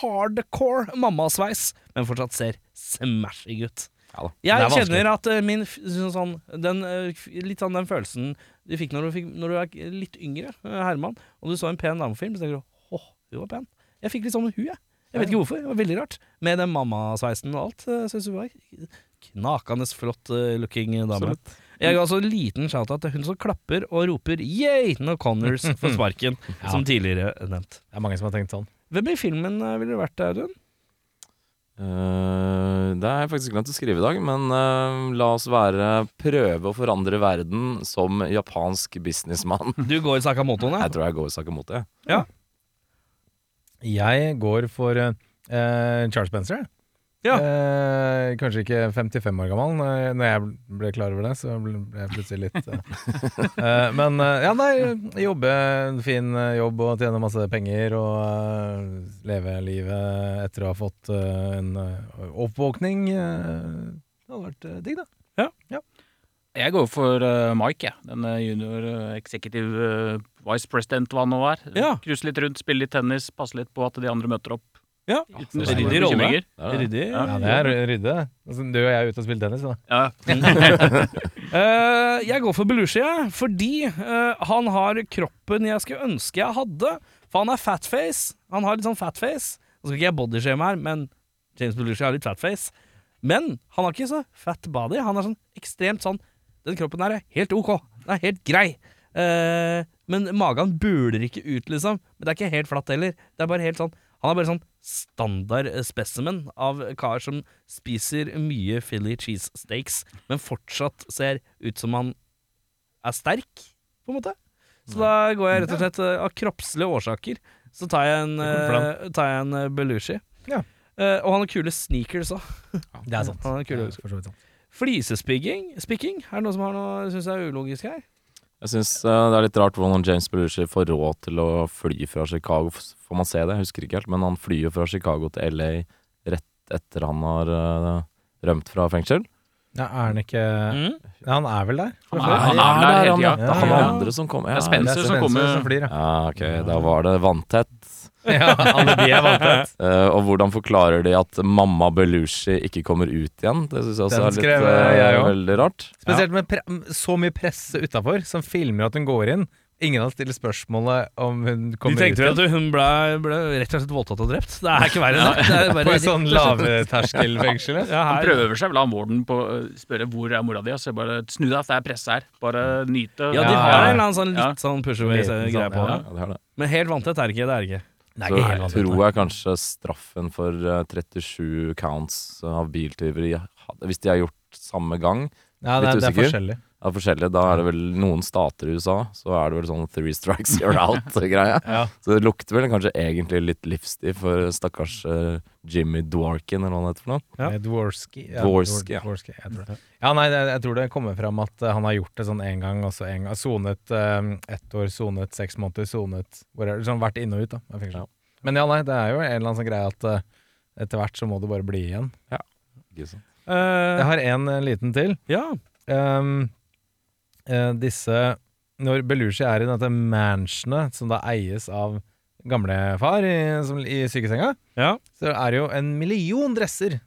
Speaker 1: hardcore mammasveis, men fortsatt ser smashing ut.
Speaker 3: Ja da.
Speaker 1: Jeg
Speaker 4: Det er vanskelig.
Speaker 1: kjenner at eh, min f- sånn, den, eh, f- litt sånn den følelsen du fikk når du, fikk, når du er litt yngre, eh, Herman, og du så en pen damefilm, så tenker du åh, hun var pen. Jeg fikk litt sånn hu, jeg. Jeg vet ikke hvorfor. Det var veldig rart. Med den mammasveisen og alt. eh, Synes hun var knakende flott eh, looking dame. Jeg ga også en liten shout-out til hun som klapper og roper 'yay' når Connors får sparken, som tidligere nevnt.
Speaker 4: Det er mange som har tenkt sånn.
Speaker 1: Hvem i filmen eh, ville det vært, Audun?
Speaker 3: Eh, det har jeg faktisk glemt å skrive i dag, men eh, la oss være prøve å forandre verden som japansk businessmann.
Speaker 1: Du går i Sakamotoen,
Speaker 3: Jeg tror jeg går Sakamoto, jeg.
Speaker 4: Jeg går for eh, eh, Charles Spencer.
Speaker 1: Ja.
Speaker 4: Eh, kanskje ikke 55 år gammel. eh, Når jeg ble klar over det, så ble ble jeg plutselig litt eh, eh, Men eh, ja, nei, jobbe en fin eh, jobb og tjene masse penger og eh, leve livet etter å ha fått eh, en eh, oppvåkning. eh, det hadde vært eh, digg, da.
Speaker 5: Jeg går for eh, Mike, jeg. Den eh, junior eh, executive eh, vice president, hva han nå er.
Speaker 1: Ja.
Speaker 5: Cruise litt rundt, spille litt tennis, passe litt på at de andre møter opp.
Speaker 1: Ja.
Speaker 5: Uten
Speaker 1: det er
Speaker 5: store
Speaker 1: ryddig rolle.
Speaker 5: bekymringer.
Speaker 3: Det er det.
Speaker 1: Ryddig.
Speaker 4: Ja, det er rydde. Altså, du og jeg er ute og spiller tennis, da.
Speaker 5: Ja.
Speaker 1: Eh, jeg går for Belushi, jeg, fordi eh, han har kroppen jeg skulle ønske jeg hadde. For han er fatface. Han har litt sånn fatface. Nå skal ikke jeg bodyshame her, men James Belushi har litt fatface. Men han har ikke så fat body. Han er sånn ekstremt sånn Den kroppen her er helt ok. Den er helt grei. Eh, men magen buler ikke ut, liksom. Men det er ikke helt flatt heller. Det er bare helt sånn Han er bare sånn standard eh, specimen av kar som spiser mye Philly cheese steaks, men fortsatt ser ut som han er sterk, på en måte. Så da går jeg rett og slett eh, av kroppslige årsaker Så tar jeg en,
Speaker 4: Det kommer
Speaker 1: eh, tar jeg en eh, Belushi.
Speaker 4: Ja.
Speaker 1: Eh, og han har kule sneakers òg.
Speaker 4: Det er sant.
Speaker 1: Han har kule
Speaker 4: Det er for så vidt sant.
Speaker 1: Flisespikking? Spikking? Er det noen som har noe synes jeg er ulogisk her?
Speaker 3: Jeg syns det er litt rart hvordan James Belushi får råd til å fly fra Chicago. F- Får man se det? Jeg husker ikke helt, men han flyr jo fra Chicago til LA rett etter han har eh, rømt fra fengsel.
Speaker 4: Ja, er han ikke
Speaker 5: Mm.
Speaker 1: Mm.
Speaker 4: Nei, Han er vel der?
Speaker 5: Han
Speaker 3: Ja,
Speaker 5: er, han er der hele
Speaker 3: han,
Speaker 5: tida.
Speaker 3: ja. Det er han
Speaker 4: Ja.
Speaker 3: andre som kommer.
Speaker 5: Det er Spencer. som
Speaker 4: Spencer
Speaker 5: kommer-
Speaker 4: som flyr, ja.
Speaker 3: Ja, ok, da var det vanntett.
Speaker 4: ja alle de er vanntett.
Speaker 3: Eh, og hvordan forklarer de at mamma Belushi ikke kommer ut igjen? Det syns jeg også
Speaker 4: Den
Speaker 3: er litt
Speaker 4: skrev
Speaker 3: eh,
Speaker 4: jeg også.
Speaker 3: veldig rart.
Speaker 4: Spesielt med pre så mye presse utafor, som filmer at hun går inn. Ingen av oss stiller spørsmålet om hun
Speaker 1: De
Speaker 4: kommer ut.
Speaker 1: tenkte vel
Speaker 4: igjen.
Speaker 1: at hun ble, ble rett og slett voldtatt og drept. Det er ikke verre enn det. det er bare rett
Speaker 4: På
Speaker 1: og
Speaker 4: et
Speaker 1: slett-
Speaker 4: sånn lavterskelfengsel. ja.
Speaker 1: Ja,
Speaker 5: Han
Speaker 1: her.
Speaker 5: prøver seg vel han Warden på å spørre hvor er mora di, og så bare snu deg, det er presse her. Bare nyte.
Speaker 1: ja, de
Speaker 4: Ja,
Speaker 1: har en
Speaker 4: ja, ja.
Speaker 1: eller annen sånn litt
Speaker 5: Ja.
Speaker 1: sånn
Speaker 3: Sånn,
Speaker 1: pushover-greie på
Speaker 3: ja,
Speaker 1: det.
Speaker 3: det er det.
Speaker 1: Men helt vanntett er det ikke. Det er det ikke.
Speaker 4: Det
Speaker 3: Så tror jeg kanskje straffen for eh, 37 counts av biltyveri ha- Hvis de har gjort samme gang
Speaker 4: Ja, det, er- det er
Speaker 3: Litt usikker.
Speaker 4: forskjellig.
Speaker 3: av forskjellige, da er det vel noen stater i USA, så er det vel sånn three strikes you're out-greie.
Speaker 4: Ja.
Speaker 3: Så det lukter vel kanskje egentlig litt livstid for stakkars eh, Jimmy Dworkin, eller hva han heter for noe.
Speaker 1: Ja.
Speaker 4: Eh, Dworsky. Ja,
Speaker 3: Dworsky,
Speaker 4: Dwor-
Speaker 3: ja.
Speaker 4: Dworsky, jeg tror det. Ja, nei, det, jeg tror det kommer fram at eh, han har gjort det sånn én gang, og så én gang. Sonet eh, ett år, sonet seks måneder, sonet hvor er det, Sånn vært inn og ut, da. av fengsel.
Speaker 3: Ja.
Speaker 4: Men ja, nei, det er jo en eller annen sånn greie at eh, etter hvert så må du bare bli igjen.
Speaker 3: Ikke sant?
Speaker 4: Jeg
Speaker 1: Eh,
Speaker 4: har en eh, liten til.
Speaker 1: ja.
Speaker 4: Ehm, eh, disse Når Belushi er i dette mansionet som da eies av gamlefar i, som, i sykesenga,
Speaker 1: Ja.
Speaker 4: så er det jo en million dresser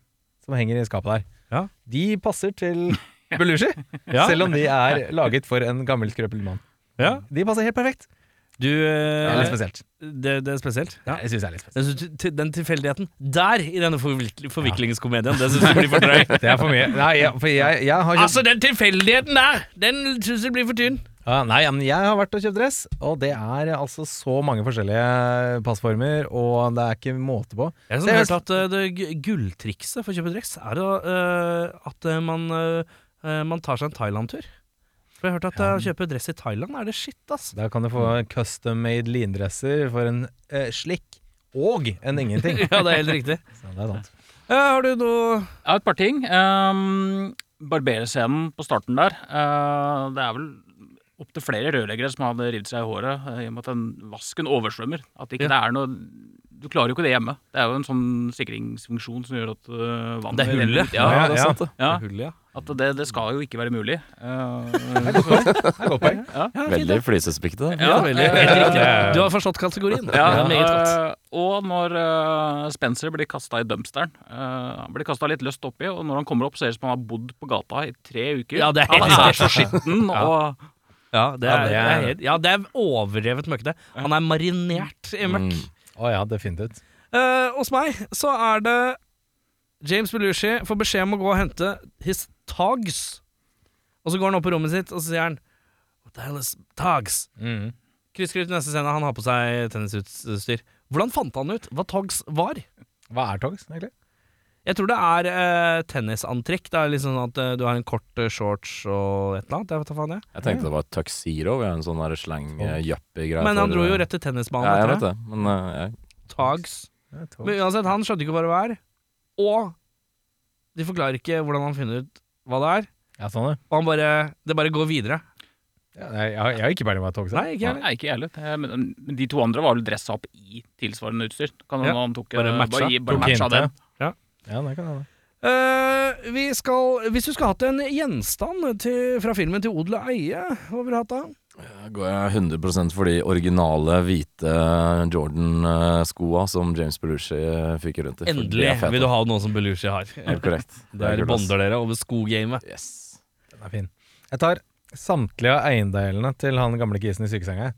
Speaker 4: som henger i skapet der.
Speaker 1: Ja.
Speaker 4: De passer til Belushi,
Speaker 1: Ja.
Speaker 4: selv om de er laget for en gammel, skrøpelig mann.
Speaker 1: Ja.
Speaker 4: De passer helt perfekt.
Speaker 1: Du
Speaker 4: Det er litt
Speaker 1: eh,
Speaker 4: spesielt.
Speaker 1: det, det er spesielt? Ja.
Speaker 4: Jeg synes det er litt spesielt.
Speaker 1: Jeg synes til- til- Den tilfeldigheten der i denne forvikl- forviklingskomedien, det syns du blir for drøy.
Speaker 4: Det er for mye. Nei, jeg, for jeg, jeg har kjøpt
Speaker 1: Altså, den tilfeldigheten der, den syns jeg blir for tynn.
Speaker 4: ja, Nei, men jeg har vært og kjøpt dress, og det er altså så mange forskjellige passformer, og det er ikke måte på.
Speaker 1: Jeg
Speaker 4: Det
Speaker 1: har
Speaker 4: er
Speaker 1: hørt at eh, det gu- gulltrikset for å kjøpe dress er å, eh, at eh, man, eh, man tar seg en Thailand-tur. For jeg har hørt at eh, å kjøpe dress i Thailand er det shit, ass.
Speaker 4: Da kan du få
Speaker 1: Mm.
Speaker 4: custom-made lindresser for en eh, slikk og en ingenting.
Speaker 1: Ja, det er helt riktig.
Speaker 4: Så det er sant.
Speaker 1: Eh, har du noe
Speaker 5: Jeg har et par ting. Um, Barberescenen på starten der. eh, det er vel opptil flere rørleggere som hadde revet seg i håret eh, i og med at den vasken oversvømmer. At ikke det er noe Du klarer jo ikke det hjemme. Det er jo en sånn sikringsfunksjon som gjør at eh, vannet
Speaker 1: Det er hullet.
Speaker 5: renner ut. Ja,
Speaker 4: Ja,
Speaker 5: det er
Speaker 4: ja.
Speaker 5: sant, det. ja.
Speaker 1: hull, ja?
Speaker 5: At det, det skal jo ikke være mulig. Eh,
Speaker 4: Det er et godt poeng.
Speaker 3: Veldig flisespekte.
Speaker 5: ja,
Speaker 1: Ja, veldig, helt
Speaker 5: eh,
Speaker 1: riktig. Du har forstått kategorien.
Speaker 5: Ja,
Speaker 1: Det er meget godt.
Speaker 5: eh, og når eh, Spencer blir kasta i dumpsteren eh, Han blir kasta litt løst oppi, og når han kommer opp, ser det ut som han har bodd på gata i tre uker.
Speaker 1: Ja, det er helt
Speaker 5: han er så skitten, og
Speaker 1: Ja, det er,
Speaker 4: Ja, det
Speaker 1: det
Speaker 4: er-
Speaker 1: er, helt, ja, det er overdrevet møkkete. Han er marinert i møkk.
Speaker 3: Mm.
Speaker 4: Å ja, definitivt.
Speaker 1: Eh, hos meg så er det James Belushi får beskjed om å gå og hente his tags. Og så går han opp på rommet sitt og så sier han What the hell is tags?
Speaker 4: Mm.
Speaker 1: Krysskryss neste scene, han har på seg tennisutstyr. Hvordan fant han ut hva tags var?
Speaker 4: Hva er togs, egentlig?
Speaker 1: Jeg tror det er eh, tennisantrekk. Det er liksom at eh, du har en kort eh, shorts og et eller annet. Jeg vet da faen jeg.
Speaker 3: Jeg tenkte det var tuxedo, en sånn der slang-yuppie-greie.
Speaker 1: Men han dro jo rett til tennisbanen.
Speaker 3: eh, Ja, jeg
Speaker 1: etter
Speaker 3: vet det, men eh, jeg
Speaker 1: Tags.
Speaker 4: Ja, togs.
Speaker 1: Men uansett, han skjønte ikke hva det var. Og de forklarer ikke hvordan han finner ut hva det er.
Speaker 4: Ja, sånn det.
Speaker 1: Og han bare, det bare går videre.
Speaker 4: Ja, nei, jeg, har- jeg har ikke peiling på hva togs er.
Speaker 1: Nei, ikke heller.
Speaker 5: Nei, ikke jeg heller. Eh, Men men de to andre var vel dressa opp i tilsvarende utstyr. Kan
Speaker 1: Ja,
Speaker 5: hende han tok, eh,
Speaker 1: bare matcha.
Speaker 5: Bare, gi- bare
Speaker 4: Tok
Speaker 5: matcha
Speaker 4: hintet.
Speaker 5: den.
Speaker 4: Ja, det kan hende.
Speaker 1: Eh, vi skal, hvis du skulle hatt en gjenstand til, fra filmen til odel og eie, hva ville du hatt da?
Speaker 3: Da går jeg 100 for de originale hvite eh, Jordan-skoa som James Belushi eh, fyker rundt i. for de
Speaker 1: Endelig
Speaker 3: er fete.
Speaker 1: vil du ha noe som Belushi har.
Speaker 3: Helt korrekt.
Speaker 1: Der bonder dere over skogamet.
Speaker 3: Yes.
Speaker 4: Den er fin. Jeg tar samtlige av eiendelene til han gamle kisen i sykesenga.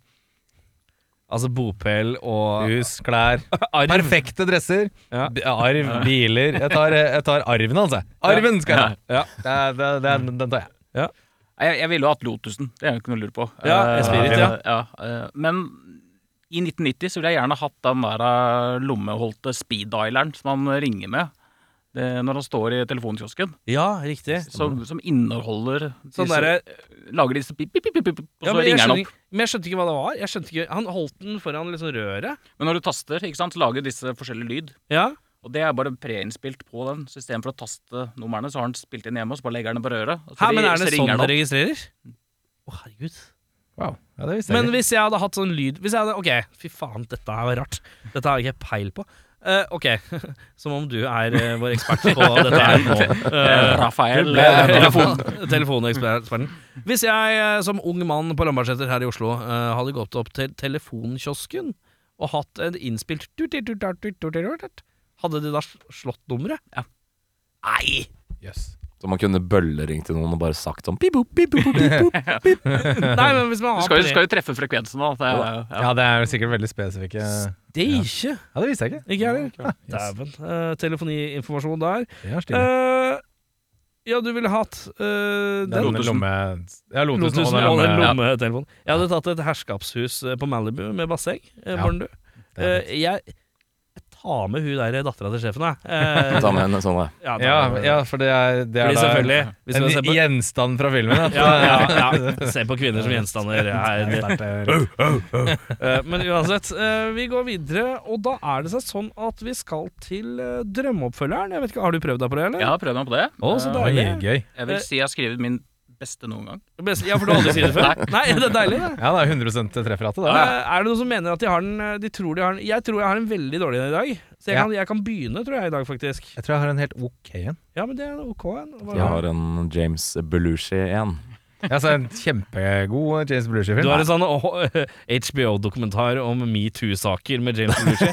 Speaker 1: Altså bopel og
Speaker 4: Hus, klær,
Speaker 1: arv.
Speaker 4: perfekte dresser,
Speaker 1: Ja.
Speaker 4: b- arv, eh, biler. Jeg tar, jeg tar altså. arven hans, jeg. Arven skal jeg ha!
Speaker 1: Ja.
Speaker 4: Det er- det er- Den, den tar jeg.
Speaker 5: Nei, Jeg, jeg ville jo hatt Lotusen, det er jo ikke noe å lure på.
Speaker 1: Ja,
Speaker 5: Eh,
Speaker 1: Esprit, ja.
Speaker 5: eh, men i 1990 så ville jeg gjerne hatt den der eh, lommeholdte speed-dialeren som han ringer med det, når han står i telefonkiosken,
Speaker 1: Ja, riktig.
Speaker 5: som, som inneholder disse,
Speaker 1: Sånn derre
Speaker 5: Lager disse pip, pip, pip, pip, pip, og
Speaker 1: ja,
Speaker 5: så
Speaker 1: men, jeg
Speaker 5: ringer han
Speaker 1: skjønner
Speaker 5: opp.
Speaker 1: ikke- men jeg skjønte ikke hva det var. Jeg skjønte ikke, Han holdt den foran liksom røret.
Speaker 5: Men når du taster, ikke sant, så lager disse forskjellige lyd.
Speaker 1: Ja.
Speaker 5: Og det er bare preinnspilt på den. Så istedenfor å taste numrene, så har han spilt inn hjemme, og så bare legger han det på røret. Og så,
Speaker 1: Hæ,
Speaker 5: ri-
Speaker 1: men er
Speaker 5: så
Speaker 1: det
Speaker 5: ringer
Speaker 1: sånn
Speaker 5: han
Speaker 1: det
Speaker 5: opp.
Speaker 1: registrerer? Å, herregud.
Speaker 4: Wow. Ja, det visste jeg
Speaker 1: Men
Speaker 4: ikke.
Speaker 1: hvis jeg hadde hatt sånn lyd Hvis jeg hadde, ok, fy faen, dette her var rart Dette har jeg ikke peil på Eh, Ok, som om du er eh, vår ekspert på dette her nå
Speaker 5: Eh,
Speaker 1: Eh,
Speaker 5: Rafael
Speaker 1: eh,
Speaker 5: eh,
Speaker 1: telefon, Telefoneksperten Hvis jeg eh, som ung mann på Lambertseter her i Oslo eh, Hadde gått opp til telefonkiosken Og hatt en innspilt Hadde de da slått nummeret?
Speaker 5: Ja.
Speaker 1: Nei
Speaker 4: Jøss.
Speaker 3: Så man kunne bølleringt til noen og bare sagt sånn pip, pip, pip, pip, pip, pip.
Speaker 1: Nei, men hvis man
Speaker 5: Du
Speaker 1: har
Speaker 5: skal jo,
Speaker 1: tre-
Speaker 5: skal jo treffe frekvensen, da. Det er, ja.
Speaker 4: Ja, det er jo sikkert veldig spesifikke Ja,
Speaker 1: Det er ikke
Speaker 4: det visste jeg ikke.
Speaker 1: Ikke jeg heller.
Speaker 4: Yes.
Speaker 1: Dæven. Eh, telefoniinformasjon der.
Speaker 4: Ja, stilig.
Speaker 1: Eh, ja, du ville hatt eh,
Speaker 4: Det er
Speaker 1: den.
Speaker 4: lomme,
Speaker 5: Lotusen.
Speaker 4: lomme, ja, Lotusen
Speaker 1: Lotusen
Speaker 4: og den
Speaker 1: og den
Speaker 4: lomme.
Speaker 1: lommetelefonen. Jeg hadde tatt et herskapshus eh, på Malibu med basseng. eh,
Speaker 4: Ja,
Speaker 1: Barndu.
Speaker 4: det er
Speaker 1: Eh, jeg, jeg tar med hun der dattera til sjefen, jeg. Eh,
Speaker 3: Ta med en sånn der.
Speaker 1: ja, da-
Speaker 4: Ja, ja, for det er, det er
Speaker 1: Fordi selvfølgelig Hvis man ser
Speaker 4: en
Speaker 1: på,
Speaker 4: gjenstand fra filmen. da.
Speaker 1: ja, ja, ja, se på kvinner som gjenstander her. Eh, Men uansett, eh, vi går videre, og da er det seg sånn at vi skal til eh, drømmeoppfølgeren. Jeg vet ikke, Har du prøvd deg på det, eller?
Speaker 5: Jeg har prøvd meg på det.
Speaker 1: Å, så
Speaker 5: Eh,
Speaker 4: Oi, gøy.
Speaker 5: Jeg vil si jeg har skrevet min beste noen gang.
Speaker 1: Best, ja, for du har aldri sett det før? Nei, det er deilig. det.
Speaker 4: Ja, det er 100 trefferate, det.
Speaker 1: Eh, Er det noen som mener at de har den eh, De tror de har den Jeg tror jeg har en veldig dårlig en i dag. Så jeg
Speaker 4: Ja.
Speaker 1: kan, jeg kan begynne, tror jeg, i dag, faktisk.
Speaker 4: Jeg tror jeg har en helt ok en.
Speaker 1: Ja, men det er ok. en. Hva-
Speaker 3: Jeg har en James Belushi igjen.
Speaker 4: Jeg sa en kjempegod James Blusher-film.
Speaker 1: Du har en sånn HBO-dokumentar om metoo-saker med James Belushi.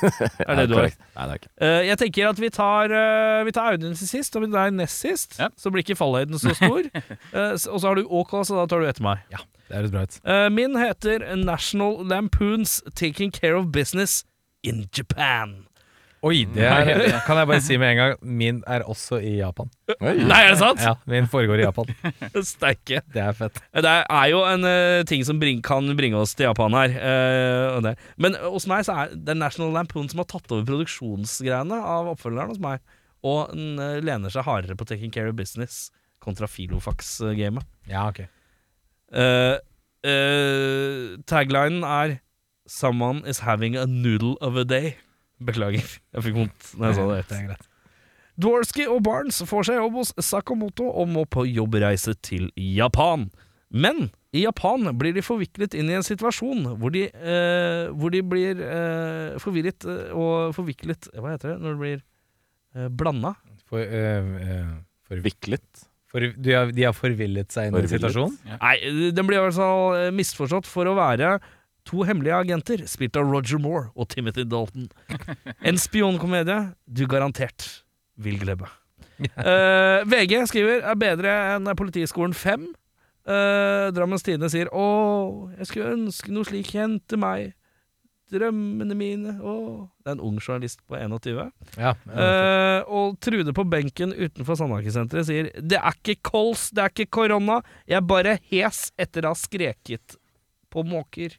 Speaker 1: Er det du har?
Speaker 3: Nei, det er ikke.
Speaker 1: Eh, Jeg tenker at vi tar, eh, vi tar Audun til sist, og deg nest sist.
Speaker 5: Ja.
Speaker 1: Så blir ikke fallhøyden så stor. Eh, s- Og så har du OK, så da tar du etter meg.
Speaker 4: Det høres bra ut.
Speaker 1: Eh, Min heter National Lampoons Taking Care of Business in Japan.
Speaker 4: Oi, det er, kan jeg bare si med en gang, min er også i Japan.
Speaker 3: Oi.
Speaker 1: Nei, er det sant?
Speaker 4: Ja, min foregår i Japan.
Speaker 1: Steike.
Speaker 4: Det er fett.
Speaker 1: Det er jo en eh, ting som bring, kan bringe oss til Japan her. eh, og det. Men hos meg så er det National Lampoon som har tatt over produksjonsgreiene av oppfølgeren hos meg. Og den eh, lener seg hardere på Taking Care of Business kontra Filofax-gamet.
Speaker 4: Ja, ok.
Speaker 1: Eh, eh, taglinen er 'Someone is having a noodle of a day'. Beklager, jeg fikk vondt når jeg sa det.
Speaker 4: er greit.
Speaker 1: Dworsky og Barnes får seg jobb hos Sakamoto og må på jobbreise til Japan. Men i Japan blir de forviklet inn i en situasjon hvor de, eh, hvor de blir eh, forvirret eh, og forviklet Hva heter det når det blir eh, blanda?
Speaker 4: For, øh, øh, for,
Speaker 3: Viklet.
Speaker 4: for, du, har- de har forvillet seg inn i en
Speaker 3: Forvillet.
Speaker 4: situasjon?
Speaker 1: Nei, den blir i hvert fall eh, misforstått for å være to hemmelige agenter, spilt av Roger Moore og Timothy Dalton. En spionkomedie du garantert vil glemme. Eh, VG skriver er bedre enn Politiskolen 5. Eh, Drammens Tidende sier Å, jeg skulle ønske noe slik hendte meg. Drømmene mine Å. Det er en ung journalist på 21.
Speaker 4: Ja.
Speaker 1: Eh, og Trude på benken utenfor Sandhagesenteret sier Det er ikke kols, det er ikke korona. Jeg er bare hes etter å ha skreket på måker.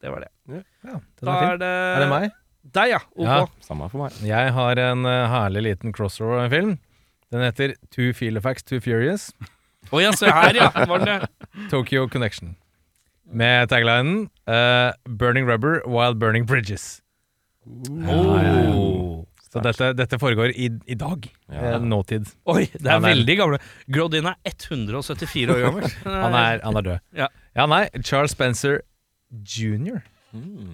Speaker 1: Det var det.
Speaker 4: ja den
Speaker 1: Da
Speaker 4: er, fin.
Speaker 1: er det
Speaker 4: er det meg?
Speaker 1: Deg, ja. OK.
Speaker 4: Ja.
Speaker 3: Samme for meg.
Speaker 4: Jeg har en eh, herlig liten crossover av en film. Den heter Two Filofax, Two Furious.
Speaker 1: Å ja, se her, ja. Var det
Speaker 4: Tokyo Connection. Med taglinen eh, 'Burning rubber while burning bridges'. Så dette, dette foregår i, i dag.
Speaker 3: Ja.
Speaker 4: Eh, Nåtid.
Speaker 1: Oi, det er
Speaker 4: Han er-
Speaker 1: veldig gamle. Grodin er 174 år gammel.
Speaker 4: Han er, han er død.
Speaker 1: Ja.
Speaker 4: nei. Charles Spencer jr.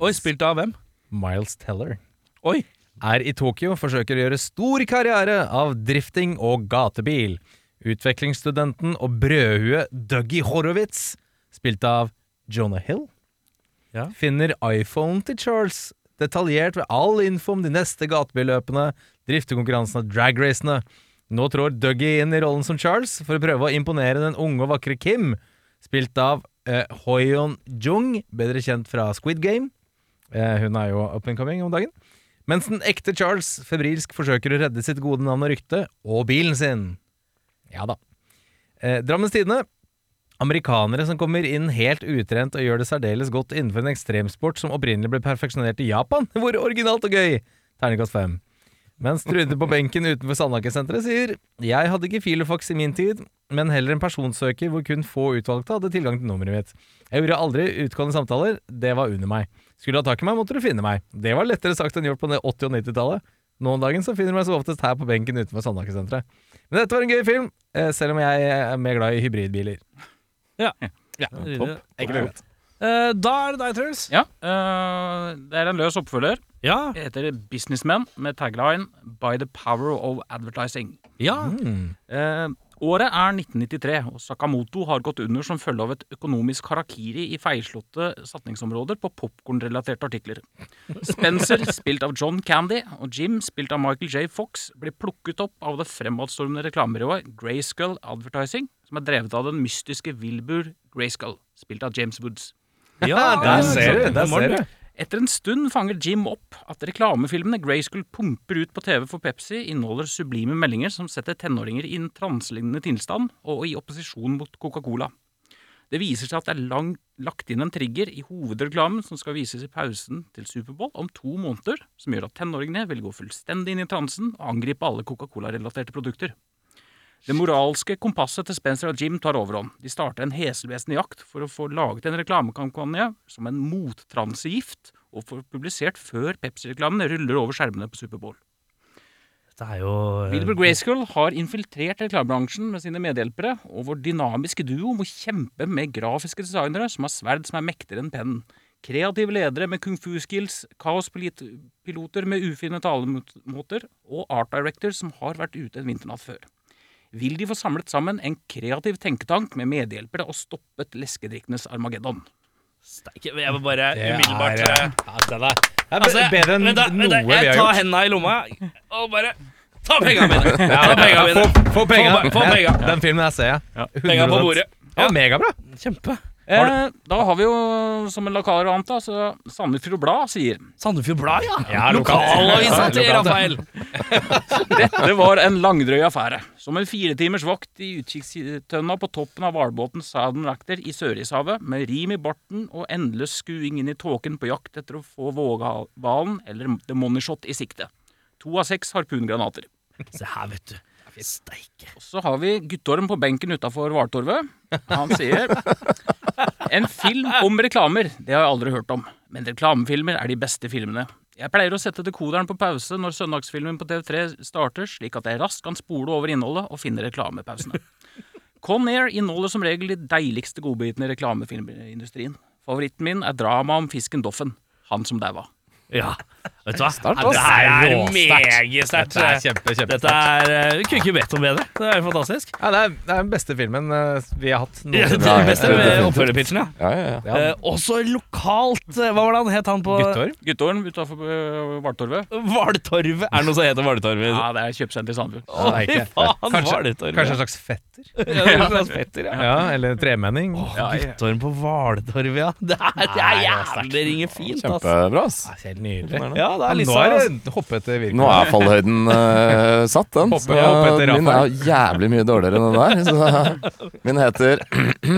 Speaker 1: Oi, spilt av hvem?
Speaker 4: Miles Teller.
Speaker 1: Oi.
Speaker 4: er i Tokyo forsøker å gjøre stor karriere av drifting og gatebil. Utvekslingsstudenten og brødhuet Dougie Horowitz, spilt av Jonah Hill,
Speaker 1: Ja.
Speaker 4: finner iPhonen til Charles, detaljert ved all info om de neste gatebilløpene, driftekonkurransene og dragracene. Nå trår Dougie inn i rollen som Charles for å prøve å imponere den unge og vakre Kim, spilt av eh, Hoyon Jung, bedre kjent fra Squid Game. Eh, hun er jo up and coming om dagen. Mens den ekte Charles febrilsk forsøker å redde sitt gode navn og rykte, og bilen sin. Ja da. Eh, Drammens Tidende Amerikanere som kommer inn helt utrent og gjør det særdeles godt innenfor en ekstremsport som opprinnelig ble perfeksjonert i Japan. Hvor originalt og gøy! Terningkast fem. Mens Trude på benken utenfor Sandhagen-senteret sier Jeg hadde ikke filofax i min tid, men heller en personsøker hvor kun få utvalgte hadde tilgang til nummeret mitt. Jeg gjorde aldri utgående samtaler, det var under meg. Skulle du ha tak i meg, måtte du finne meg. Det var lettere sagt enn gjort på det 80- og 90-tallet. Nå om dagen så finner du meg som oftest her på benken utenfor Sandhagen-senteret. Men dette var en gøy film, eh, selv om jeg er mer glad i hybridbiler.
Speaker 1: Ryddig.
Speaker 4: Enkelt og greit.
Speaker 1: Eh, da er det deg, Truls.
Speaker 5: Ja, eh, Det er en løs oppfølger.
Speaker 1: Ja.
Speaker 5: Det heter Businessmen, med tagline 'By the power of advertising'.
Speaker 1: ja.
Speaker 4: Mm.
Speaker 5: Eh, året er 1993, og Sakamoto har gått under som følge av et økonomisk harakiri i feilslåtte satningsområder på popkornrelaterte artikler. Spencer, spilt av John Candy, og Jim, spilt av Michael J. Fox, blir plukket opp av det fremadstormende reklamebyrået Grayskull Advertising, som er drevet av den mystiske Wilbur Grayskull, spilt av James Woods.
Speaker 1: ja
Speaker 4: Der ser du! Der ser du.
Speaker 5: Etter en stund fanger Jim opp at reklamefilmene Grayskull pumper ut på TV for Pepsi, inneholder sublime meldinger som setter tenåringer i en transelignende tilstand og i opposisjon mot Coca-Cola. Det viser seg at det er lang, lagt inn en trigger i hovedreklamen som skal vises i pausen til Superbowl om to måneder, som gjør at tenåringene vil gå fullstendig inn i transen og angripe alle Coca-Cola-relaterte produkter. Det moralske kompasset til Spencer og Jim tar overhånd. De starter en heselvesende jakt for å få laget en reklamekampanje som en mottransegift, og får publisert før Pepsi-reklamen ruller over skjermene på Superbowl.
Speaker 1: Det er jo eh,
Speaker 5: Wilbur Grayskull har infiltrert reklamebransjen med sine medhjelpere, og vår dynamiske duo må kjempe med grafiske designere som har sverd som er mektigere enn pennen. Kreative ledere med kung fu-skills, kaospiloter med ufine talemåter og art director som har vært ute en vinternatt før. Vil de få samlet sammen en kreativ tenketank med medhjelpere og stoppet leskedrikkenes Armageddon?
Speaker 1: steike, Jeg må bare
Speaker 4: Det er-
Speaker 1: umiddelbart eh,
Speaker 4: Ja, den er, det er
Speaker 1: altså, jeg-
Speaker 4: bedre enn
Speaker 1: vent da, vent da,
Speaker 4: noe vi har
Speaker 1: Jeg tar
Speaker 4: gjort.
Speaker 1: henda i lomma og bare Ta penga mine! Ta penga
Speaker 4: Ja,
Speaker 1: mine.
Speaker 4: Få, få penga!
Speaker 1: Få- få penga.
Speaker 4: Den filmen her ser jeg.
Speaker 1: Penga på bordet.
Speaker 4: Ja, megabra.
Speaker 1: Kjempe.
Speaker 5: Eh, da har vi jo, som en lokal vant, da, så Sandefjord Blad sier
Speaker 1: Sandefjord Blad, ja.
Speaker 4: Ja,
Speaker 1: Lokalavisa til
Speaker 4: lokalt.
Speaker 1: Rafael.
Speaker 5: Dette var en langdrøy affære. Som en fire timers vakt i utkikkstønna på toppen av hvalbåten Southern Ractor i Sørishavet, med rim i barten og endeløs skuing inn i tåken på jakt etter å få vågehvalen eller the money shot i sikte. To av seks harpungranater.
Speaker 1: Se her, vet du. Steike.
Speaker 5: Og så har vi guttorm på benken utafor Hvaltorvet. Han sier En film om reklamer, det har jeg aldri hørt om. Men reklamefilmer er de beste filmene. Jeg pleier å sette dekoderen på pause når søndagsfilmen på TV3 starter, slik at jeg raskt kan spole over innholdet og finne reklamepausene. Conair inneholder som regel de deiligste godbitene i reklamefilmindustrien. Favoritten min er dramaet om fisken Doffen. Han som daua.
Speaker 1: Ja. Vet du hva?
Speaker 4: ass.
Speaker 1: det her er
Speaker 4: Råsterkt.
Speaker 1: meget sterkt.
Speaker 4: Dette er kjempe, kjempe.
Speaker 1: Dette er eh, Vi kunne ikke bedt om bedre. Det er fantastisk.
Speaker 4: Ja, det, er, det er den beste filmen eh, vi har hatt
Speaker 1: Det er
Speaker 4: noensinne.
Speaker 1: det beste med oppfølgerpitchen, ja.
Speaker 3: Ja, ja, ja.
Speaker 4: Ja.
Speaker 1: Eh, også lokalt eh, Hva var det han het han på
Speaker 4: Guttorm?
Speaker 5: Guttorm utafor Hvaltorvet?
Speaker 1: Hvaltorvet. Er det noe som heter Hvaltorvet?
Speaker 5: Ja, det er kjøpesenter i Sandefjord.
Speaker 1: Å,
Speaker 4: Nei,
Speaker 1: fy
Speaker 4: ikke.
Speaker 1: faen,
Speaker 4: Kanskje,
Speaker 1: Hvaltorvet.
Speaker 4: kanskje en slags fetter?
Speaker 1: Ja, det er en slags fetter, ja.
Speaker 4: Ja, eller tremenning?
Speaker 1: Åh, Guttorm på Hvaltorvet, ja. Det er, det er jævlig det ringer fint, ass.
Speaker 3: Kjempebra, ass.
Speaker 4: Ja, helt nydelig.
Speaker 3: Imponerende.
Speaker 1: Ja, det er litt
Speaker 4: Nå
Speaker 1: sånn
Speaker 4: er
Speaker 1: ass.
Speaker 4: det altså- hoppete virkelig.
Speaker 3: Nå er fallhøyden eh, satt, den.
Speaker 4: Hoppe- hoppe etter
Speaker 3: min er jo jævlig mye dårligere enn den der. Så, min heter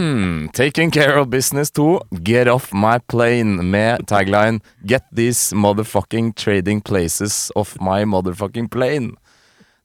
Speaker 3: Taking Care of Business 2, Get Off My Plane, med tagline Get these motherfucking trading places off my motherfucking plane.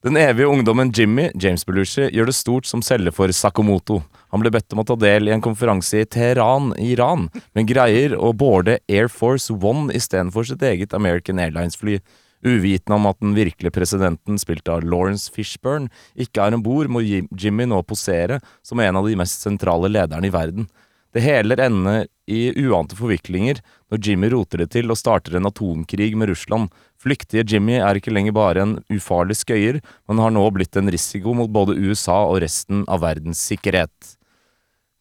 Speaker 3: Den evige ungdommen Jimmy James Belushi, gjør det stort som selger for Sakamoto. Han ble bedt om å ta del i en konferanse i Teheran i Iran, men greier å boarde Air Force One istedenfor sitt eget American Airlines-fly. Uvitende om at den virkelige presidenten, spilt av Lawrence Fishburne, ikke er om bord, må Jim- Jimmy nå posere som en av de mest sentrale lederne i verden. Det hele ender i uante forviklinger når Jimmy roter det til og starter en atomkrig med Russland. Flyktige Jimmy er ikke lenger bare en ufarlig skøyer, men har nå blitt en risiko mot både USA og resten av verdens sikkerhet.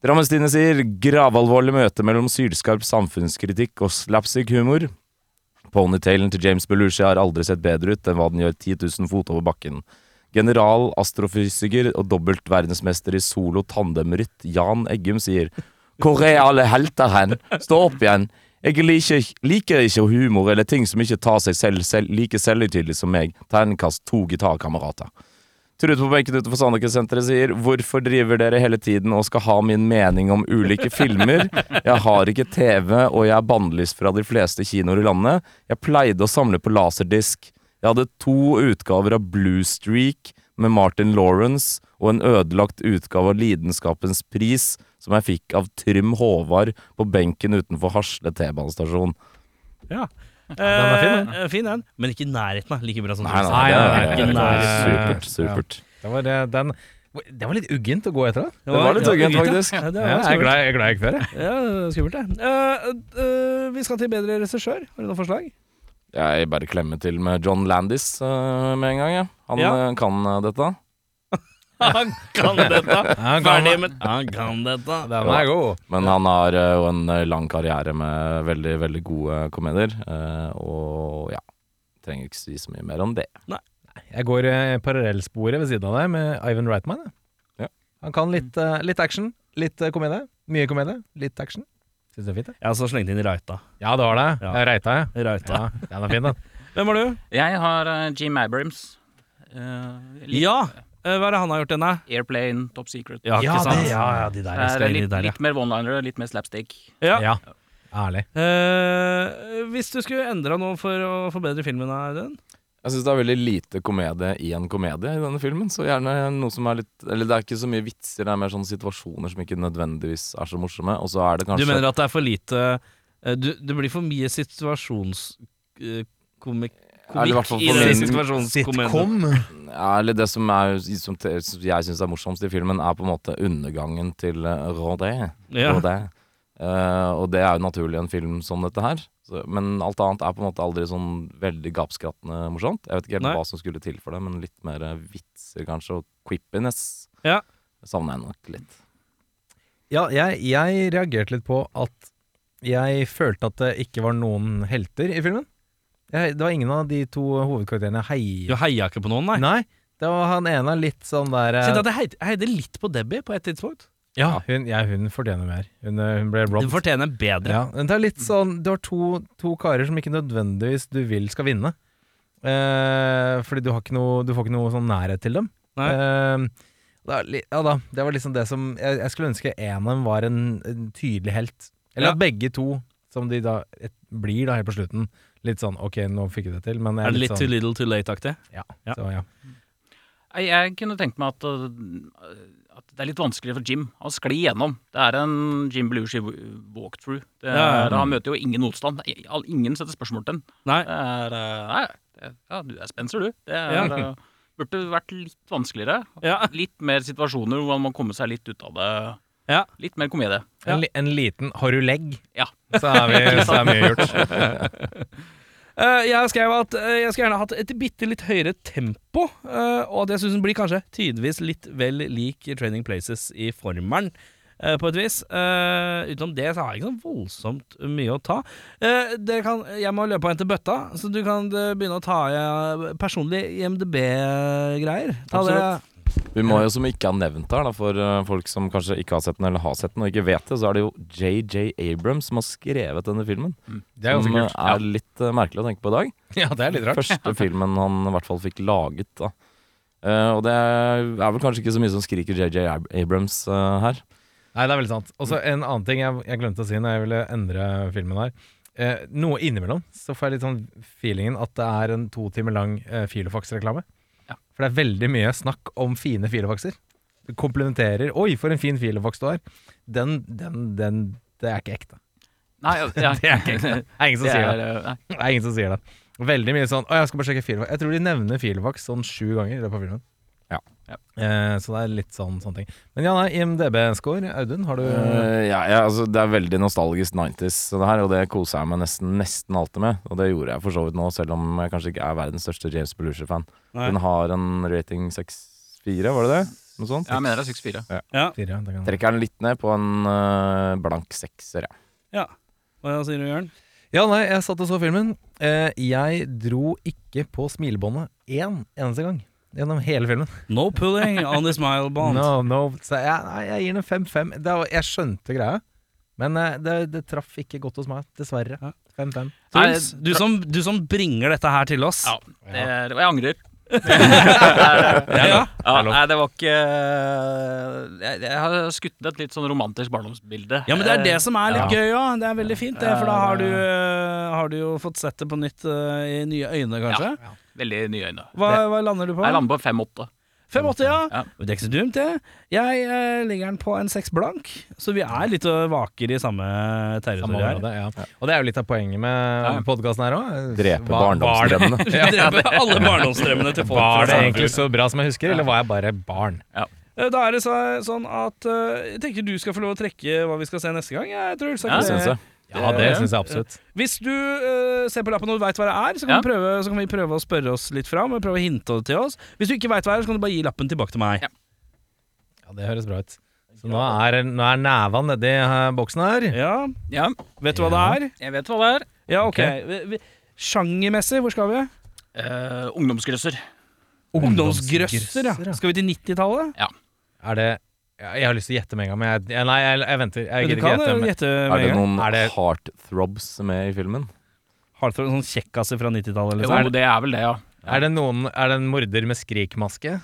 Speaker 3: Drammestine sier gravalvorlig møte mellom sylskarp samfunnskritikk og slapstick humor. Ponytailen til James Belushi har aldri sett bedre ut enn hva den gjør 10 000 fot over bakken. General, astrofysiker og dobbelt verdensmester i solo-tandemrytt Jan Eggum sier Hvor er alle helter hen? Stå opp igjen! Jeg liker, liker ikke humor eller ting som ikke tar seg selv, selv like selvhøytidelig som meg. Terningkast to gitarkamerater. Trude på benken utenfor Sandekesenteret sier Hvorfor driver dere hele tiden og skal ha min mening om ulike filmer? Jeg har ikke TV, og jeg er bannlyst fra de fleste kinoer i landet. Jeg pleide å samle på laserdisk. Jeg hadde to utgaver av Blue Streak med Martin Lawrence og en ødelagt utgave av Lidenskapens pris som jeg fikk av Trym Håvard på benken utenfor Hasle T-banestasjon.
Speaker 1: den
Speaker 4: fin,
Speaker 1: eh, fin, den. Men ikke i nærheten. da. Like bra som
Speaker 3: Nei,
Speaker 1: Tromsø.
Speaker 3: nei,
Speaker 4: nei,
Speaker 3: det er
Speaker 1: nei, nei.
Speaker 3: supert, supert.
Speaker 4: Det var, eh, den, det var litt uggent å gå etter den.
Speaker 3: Det var litt uggent, faktisk.
Speaker 1: Ja, det
Speaker 4: Ja,
Speaker 1: var
Speaker 4: jeg er
Speaker 1: skummelt.
Speaker 4: glad jeg er glad jeg gikk før, jeg.
Speaker 1: Ja, skummelt, det. Eh, eh, vi skal til bedre regissør. Har du noen forslag?
Speaker 3: Jeg bare klemmer til med John Landis eh, med en gang, jeg. Han
Speaker 1: Ja.
Speaker 3: eh, kan eh, dette.
Speaker 1: Han kan dette!
Speaker 4: Ja,
Speaker 1: Ferdig med Han kan dette.
Speaker 4: Den er god.
Speaker 3: Men han har eh, jo en eh, lang karriere med veldig, veldig gode komedier. eh, Og ja, trenger ikke si så mye mer om det.
Speaker 4: Jeg går eh, parallellsporet ved siden av deg med Ivan Reitman.
Speaker 3: Ja.
Speaker 4: jeg. Han kan litt, eh, litt action, litt eh, komedie. Mye komedie, litt action. Syns du det er fint? jeg.
Speaker 1: Jeg har så slengt inn Raita.
Speaker 4: Ja, det var det.
Speaker 1: Ja.
Speaker 4: Jeg Reita, jeg.
Speaker 1: Raita.
Speaker 4: Ja, den er fin, den.
Speaker 1: Hvem var du?
Speaker 5: Jeg har eh, Jim Abrams. Eh, litt
Speaker 1: Ja! eh, hva er det han har gjort denne?
Speaker 5: Airplane, Top Secret.
Speaker 1: Ja, ikke sant?
Speaker 4: det- ja, ja, de der.
Speaker 5: Det
Speaker 1: jeg
Speaker 5: er
Speaker 1: skal inn i
Speaker 5: litt,
Speaker 1: der, ja.
Speaker 5: litt mer one-linere, litt mer slapstick.
Speaker 1: Ja.
Speaker 4: Ja. Ærlig.
Speaker 1: Eh, hvis du skulle endra noe for å forbedre filmen, Audun?
Speaker 3: Jeg syns det er veldig lite komedie i en komedie i denne filmen. Så gjerne noe som er litt Eller det er ikke så mye vitser, det er mer sånne situasjoner som ikke nødvendigvis er så morsomme. Og så er det
Speaker 1: Du
Speaker 3: kanskje
Speaker 1: mener at det er for lite eh, du, Det blir for mye situasjonskomikk
Speaker 3: Eller i hvert fall
Speaker 1: i
Speaker 3: for
Speaker 1: den
Speaker 3: min-
Speaker 1: situasjonskomedien?
Speaker 3: Ja, eller det som, er, som, te- som jeg syns er morsomst i filmen, er på en måte undergangen til eh, Rodé.
Speaker 1: Ja.
Speaker 3: Rodé. Eh, og det er jo naturlig i en film som dette her. Så, men alt annet er på en måte aldri sånn veldig gapskrattende morsomt. Jeg vet ikke helt
Speaker 1: Nei.
Speaker 3: hva som skulle til for det, men litt mer eh, vitser kanskje, og quippiness.
Speaker 1: Ja.
Speaker 3: Savner jeg nok litt.
Speaker 4: Ja, jeg, jeg reagerte litt på at jeg følte at det ikke var noen helter i filmen. Jeg, det var ingen av de to hovedkarakterene jeg
Speaker 1: Du
Speaker 4: heia
Speaker 1: heia ikke på noen, nei?
Speaker 4: Nei, det var han ene litt sånn der eh,
Speaker 1: Siden at jeg heid- jeg heide litt på Debbie på et tidspunkt.
Speaker 4: ja, hun, ja, hun fortjener mer. Hun, eh, hun ble
Speaker 1: Hun
Speaker 4: robbed.
Speaker 1: fortjener bedre.
Speaker 4: Ja, men det er litt sånn Du har to, to karer som ikke nødvendigvis du vil skal vinne. Eh, fordi du, har ikke noe, du får ikke noe sånn nærhet til dem.
Speaker 1: Nei.
Speaker 4: Eh, det er li- ja da, det var liksom det som Jeg, jeg skulle ønske en av dem var en, en tydelig helt. Eller
Speaker 1: Ja.
Speaker 4: at begge to, som de da et, blir da helt på slutten. Litt sånn OK, nå fikk jeg det til, men jeg
Speaker 1: Er det litt
Speaker 4: litt
Speaker 1: too
Speaker 4: sånn,
Speaker 1: little too late-aktig?
Speaker 4: ja,
Speaker 1: Ja.
Speaker 4: Så, ja.
Speaker 5: Jeg, jeg kunne tenkt meg at, uh, at det er litt vanskelig for Jim å skli gjennom. Det er en Jim Belushi walkthrough. Det er,
Speaker 1: Ja, ja.
Speaker 5: Han møter jo ingen motstand. I- all- Ingen setter spørsmål til ham.
Speaker 1: Nei.
Speaker 5: Det er uh, Nei, det, ja, du er Spencer, du. Det er,
Speaker 1: Ja.
Speaker 5: uh, burde vært litt vanskeligere.
Speaker 1: Ja.
Speaker 5: Litt mer situasjoner hvor man må komme seg litt ut av det.
Speaker 1: Ja.
Speaker 5: Litt mer komedie.
Speaker 4: En, li- en liten 'har du legg',
Speaker 5: Ja.
Speaker 4: så er, vi, så er mye gjort.
Speaker 1: Eh, jeg skrev at eh, jeg skulle gjerne hatt et bitte litt høyere tempo, eh, og at jeg syns den blir kanskje tidvis litt vel lik Training Places i formelen. eh, på et vis. Eh, utenom det så har jeg ikke så voldsomt mye å ta. Eh, dere kan, jeg må løpe og hente bøtta, så du kan eh, begynne å ta eh, personlig IMDb-greier. Ta det.
Speaker 3: Absolutt. Vi må jo, som ikke er nevnt her, da, for eh, folk som kanskje ikke har sett den, eller har sett den og ikke vet det, så er det jo JJ Abrams som har skrevet denne filmen.
Speaker 4: Det er ganske
Speaker 3: som eh,
Speaker 4: kult.
Speaker 3: er litt eh, merkelig å tenke på i dag.
Speaker 4: Ja, det er litt rart.
Speaker 3: Første filmen han i hvert fall fikk laget. da Eh, Og det er vel kanskje ikke så mye som skriker JJ Ab- Abrams eh, her.
Speaker 4: Nei, det er veldig sant. Og så en annen ting jeg, jeg glemte å si når jeg ville endre filmen her. Eh, noe innimellom så får jeg litt sånn feelingen at det er en to timer lang eh, Filofax-reklame.
Speaker 5: Ja.
Speaker 4: For det er veldig mye snakk om fine Filofaxer. Du komplementerer 'oi, for en fin Filofax du har'. Den, den, den Det er ikke ekte.
Speaker 5: Nei, ja, ja.
Speaker 4: Det er ikke ekte. Det er ingen som
Speaker 5: Det
Speaker 4: sier
Speaker 5: er,
Speaker 4: det.
Speaker 5: uh,
Speaker 1: eh,
Speaker 5: nei.
Speaker 4: Det er ingen som sier det. Veldig mye sånn 'Å, jeg skal bare sjekke Filofax'. Jeg tror de nevner Filofax sånn sju ganger i løpet av filmen.
Speaker 3: Ja.
Speaker 5: Ja.
Speaker 4: Eh, så det er litt sånn sånne ting. Men ja, nei, IMDb-score. Audun, har du
Speaker 3: Eh, ja, ja, altså, det er veldig nostalgisk 90s, det her, og det koser jeg meg nesten, nesten alltid med. Og det gjorde jeg for så vidt nå, selv om jeg kanskje ikke er verdens største James Belushi-fan.
Speaker 1: Nei.
Speaker 3: Hun har en rating 6-4, var det det? Noe sånt?
Speaker 5: Jeg mener det er 6-4.
Speaker 4: Fire, det kan-
Speaker 3: Trekker den litt ned på en eh, blank sekser, ja.
Speaker 1: Hva sier du, Jørn?
Speaker 4: Ja, nei, jeg satt og så filmen. Eh, jeg dro ikke på smilebåndet én eneste gang. Gjennom hele filmen.
Speaker 1: No pulling on the smile bond.
Speaker 4: No, no, så jeg, nei, jeg gir den 5-5. Det var- Jeg skjønte greia, men eh, det, det traff ikke godt hos meg, dessverre.
Speaker 1: Ja.
Speaker 4: 5-5.
Speaker 1: Truls, du som, du som bringer dette her til oss.
Speaker 5: Ja, det er, og jeg angrer. Ja, nei, det var ikke eh, Jeg, jeg har skutt et litt sånn romantisk barndomsbilde.
Speaker 1: Ja, men det er det
Speaker 5: Eh,
Speaker 1: som er litt gøy òg. Det er veldig fint, det, for da har du, eh, har du jo fått sett det på nytt eh, i nye øyne, kanskje.
Speaker 5: Ja, ja. Veldig nye øyne.
Speaker 1: Hva, hva lander du på?
Speaker 5: Jeg lander på 5-8.
Speaker 1: 5,80, ja.
Speaker 5: Ja.
Speaker 1: Det er ikke så dumt, det. Jeg eh, ligger den på en 6 blank, så vi er litt eh, vakre i samme
Speaker 4: Samme
Speaker 1: territorium her.
Speaker 4: område, ja. Og Sånn det er jo litt av poenget med
Speaker 5: Ja.
Speaker 4: podkasten her òg.
Speaker 3: Drepe barndomsdrømmene.
Speaker 1: Vi dreper alle barndomsdrømmene til folk. fra
Speaker 4: Var det
Speaker 1: samme
Speaker 4: egentlig så bra som jeg husker, eller var jeg bare barn?
Speaker 1: Eh, Da er det så, sånn at eh, Jeg tenker du skal få lov å trekke hva vi skal se neste gang. Jeg, Truls. Er
Speaker 5: Ja,
Speaker 1: ikke
Speaker 3: Det
Speaker 1: det-
Speaker 3: syns jeg.
Speaker 4: Ja, det
Speaker 5: Eh,
Speaker 4: syns jeg absolutt.
Speaker 1: Hvis du eh, ser på lappen og veit hva det er, så kan,
Speaker 5: Ja.
Speaker 1: vi prøve, så kan vi prøve å spørre oss litt fram. og Prøve å hinte det til oss Hvis du ikke veit hva det er, så kan du bare gi lappen tilbake til meg.
Speaker 5: Ja.
Speaker 4: Ja, Det høres bra ut. Så nå er, nå er neven nedi eh, boksen her.
Speaker 1: Ja,
Speaker 5: Ja,
Speaker 1: Vet du hva det er?
Speaker 5: jeg vet hva det er.
Speaker 1: Ja, ok, Vi- vi- Sjangermessig, hvor skal vi?
Speaker 5: Eh, ungdomsgrøsser.
Speaker 1: Ungdomsgrøsser, ja. Skal vi til 90-tallet?
Speaker 4: Er det ja, Jeg har lyst til å gjette med en gang, men jeg, ja, nei, jeg, jeg venter. Jeg
Speaker 1: Du
Speaker 4: gidder ikke
Speaker 1: kan
Speaker 4: gjette.
Speaker 1: eh,
Speaker 4: Men,
Speaker 1: gjette
Speaker 3: Er
Speaker 1: med
Speaker 3: det
Speaker 1: en gang.
Speaker 3: noen
Speaker 4: Er det-
Speaker 3: heartthrobs med i filmen?
Speaker 1: Hardthrow, sånn kjekkaser fra 90-tallet.
Speaker 5: Jo,
Speaker 1: Liksom. Er det-
Speaker 5: det er vel det, ja.
Speaker 4: er det noen Er det en morder med skrikmaske?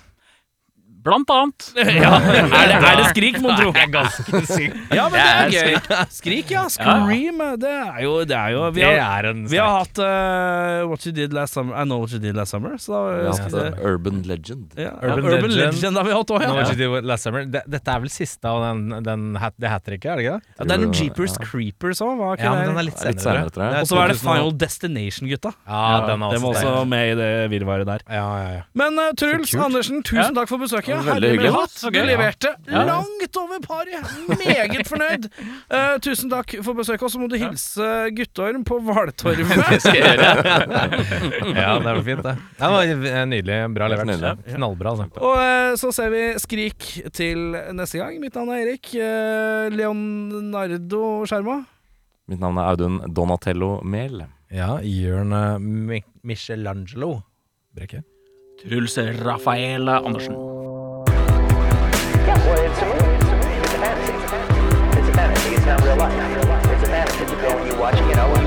Speaker 5: Blant annet.
Speaker 1: Ja, er, det, er det skrik, mon tro?
Speaker 4: ganske sykt.
Speaker 1: Ja, men
Speaker 5: Det
Speaker 1: det er
Speaker 5: er
Speaker 1: gøy. Skrik, ja. Scream. eh, Det er jo, det er jo vi
Speaker 4: Det
Speaker 1: har,
Speaker 4: er en
Speaker 1: Vi har
Speaker 4: sterk
Speaker 1: hatt eh, What You Did Last Summer I Know What You Did Last Summer. Så da,
Speaker 3: Ja,
Speaker 1: ja,
Speaker 3: det er Urban legend.
Speaker 1: ja,
Speaker 4: Urban
Speaker 1: Urban, Legend.
Speaker 4: Legend.
Speaker 1: har vi hatt òg,
Speaker 4: No,
Speaker 1: ja.
Speaker 4: What You Did Last Summer. Det- Dette er vel siste av den, den hat, det hat tricket, er det ikke det?
Speaker 1: ja. Det er noen
Speaker 3: Tror du-
Speaker 1: Jeepers
Speaker 3: ja.
Speaker 1: Creepers òg, var ikke
Speaker 4: Ja, men den
Speaker 1: det?
Speaker 4: er litt
Speaker 3: Litt
Speaker 4: senere.
Speaker 3: senere, tror jeg.
Speaker 4: er
Speaker 1: Og så er det
Speaker 4: 2000
Speaker 1: Final Destination, gutta.
Speaker 4: Ja, den er
Speaker 1: Det
Speaker 4: også
Speaker 1: var
Speaker 4: sterk.
Speaker 1: også med i det virvaret der.
Speaker 4: Ja, ja, ja.
Speaker 1: Men eh, Truls
Speaker 4: kult.
Speaker 1: Andersen, tusen takk for besøket.
Speaker 3: var veldig hyggelig.
Speaker 1: Herlig
Speaker 5: Så
Speaker 1: Du
Speaker 5: gøy.
Speaker 1: leverte
Speaker 5: Ja.
Speaker 1: langt over paret. Meget fornøyd. Eh, tusen takk for besøket. Og så må du hilse Guttorm på Hvaltorvet.
Speaker 4: ja, det var fint, det. Det var Nydelig. Bra
Speaker 3: Helt
Speaker 4: levert.
Speaker 3: nydelig.
Speaker 4: Knallbra, altså.
Speaker 1: Og eh, så ser vi Skrik til neste gang. Mitt navn er Erik. Eh, Leonardo Skjerma.
Speaker 3: Mitt navn er Audun Donatello Mehl.
Speaker 4: Ja, Jørn eh, Mi- Michelangelo Brekke.
Speaker 5: Truls Rafael Andersen.
Speaker 2: Yeah, well, it's a movie. It's a fantasy. It's a fantasy. It's not real life. It's a fantasy. You go and you watch it, you know, and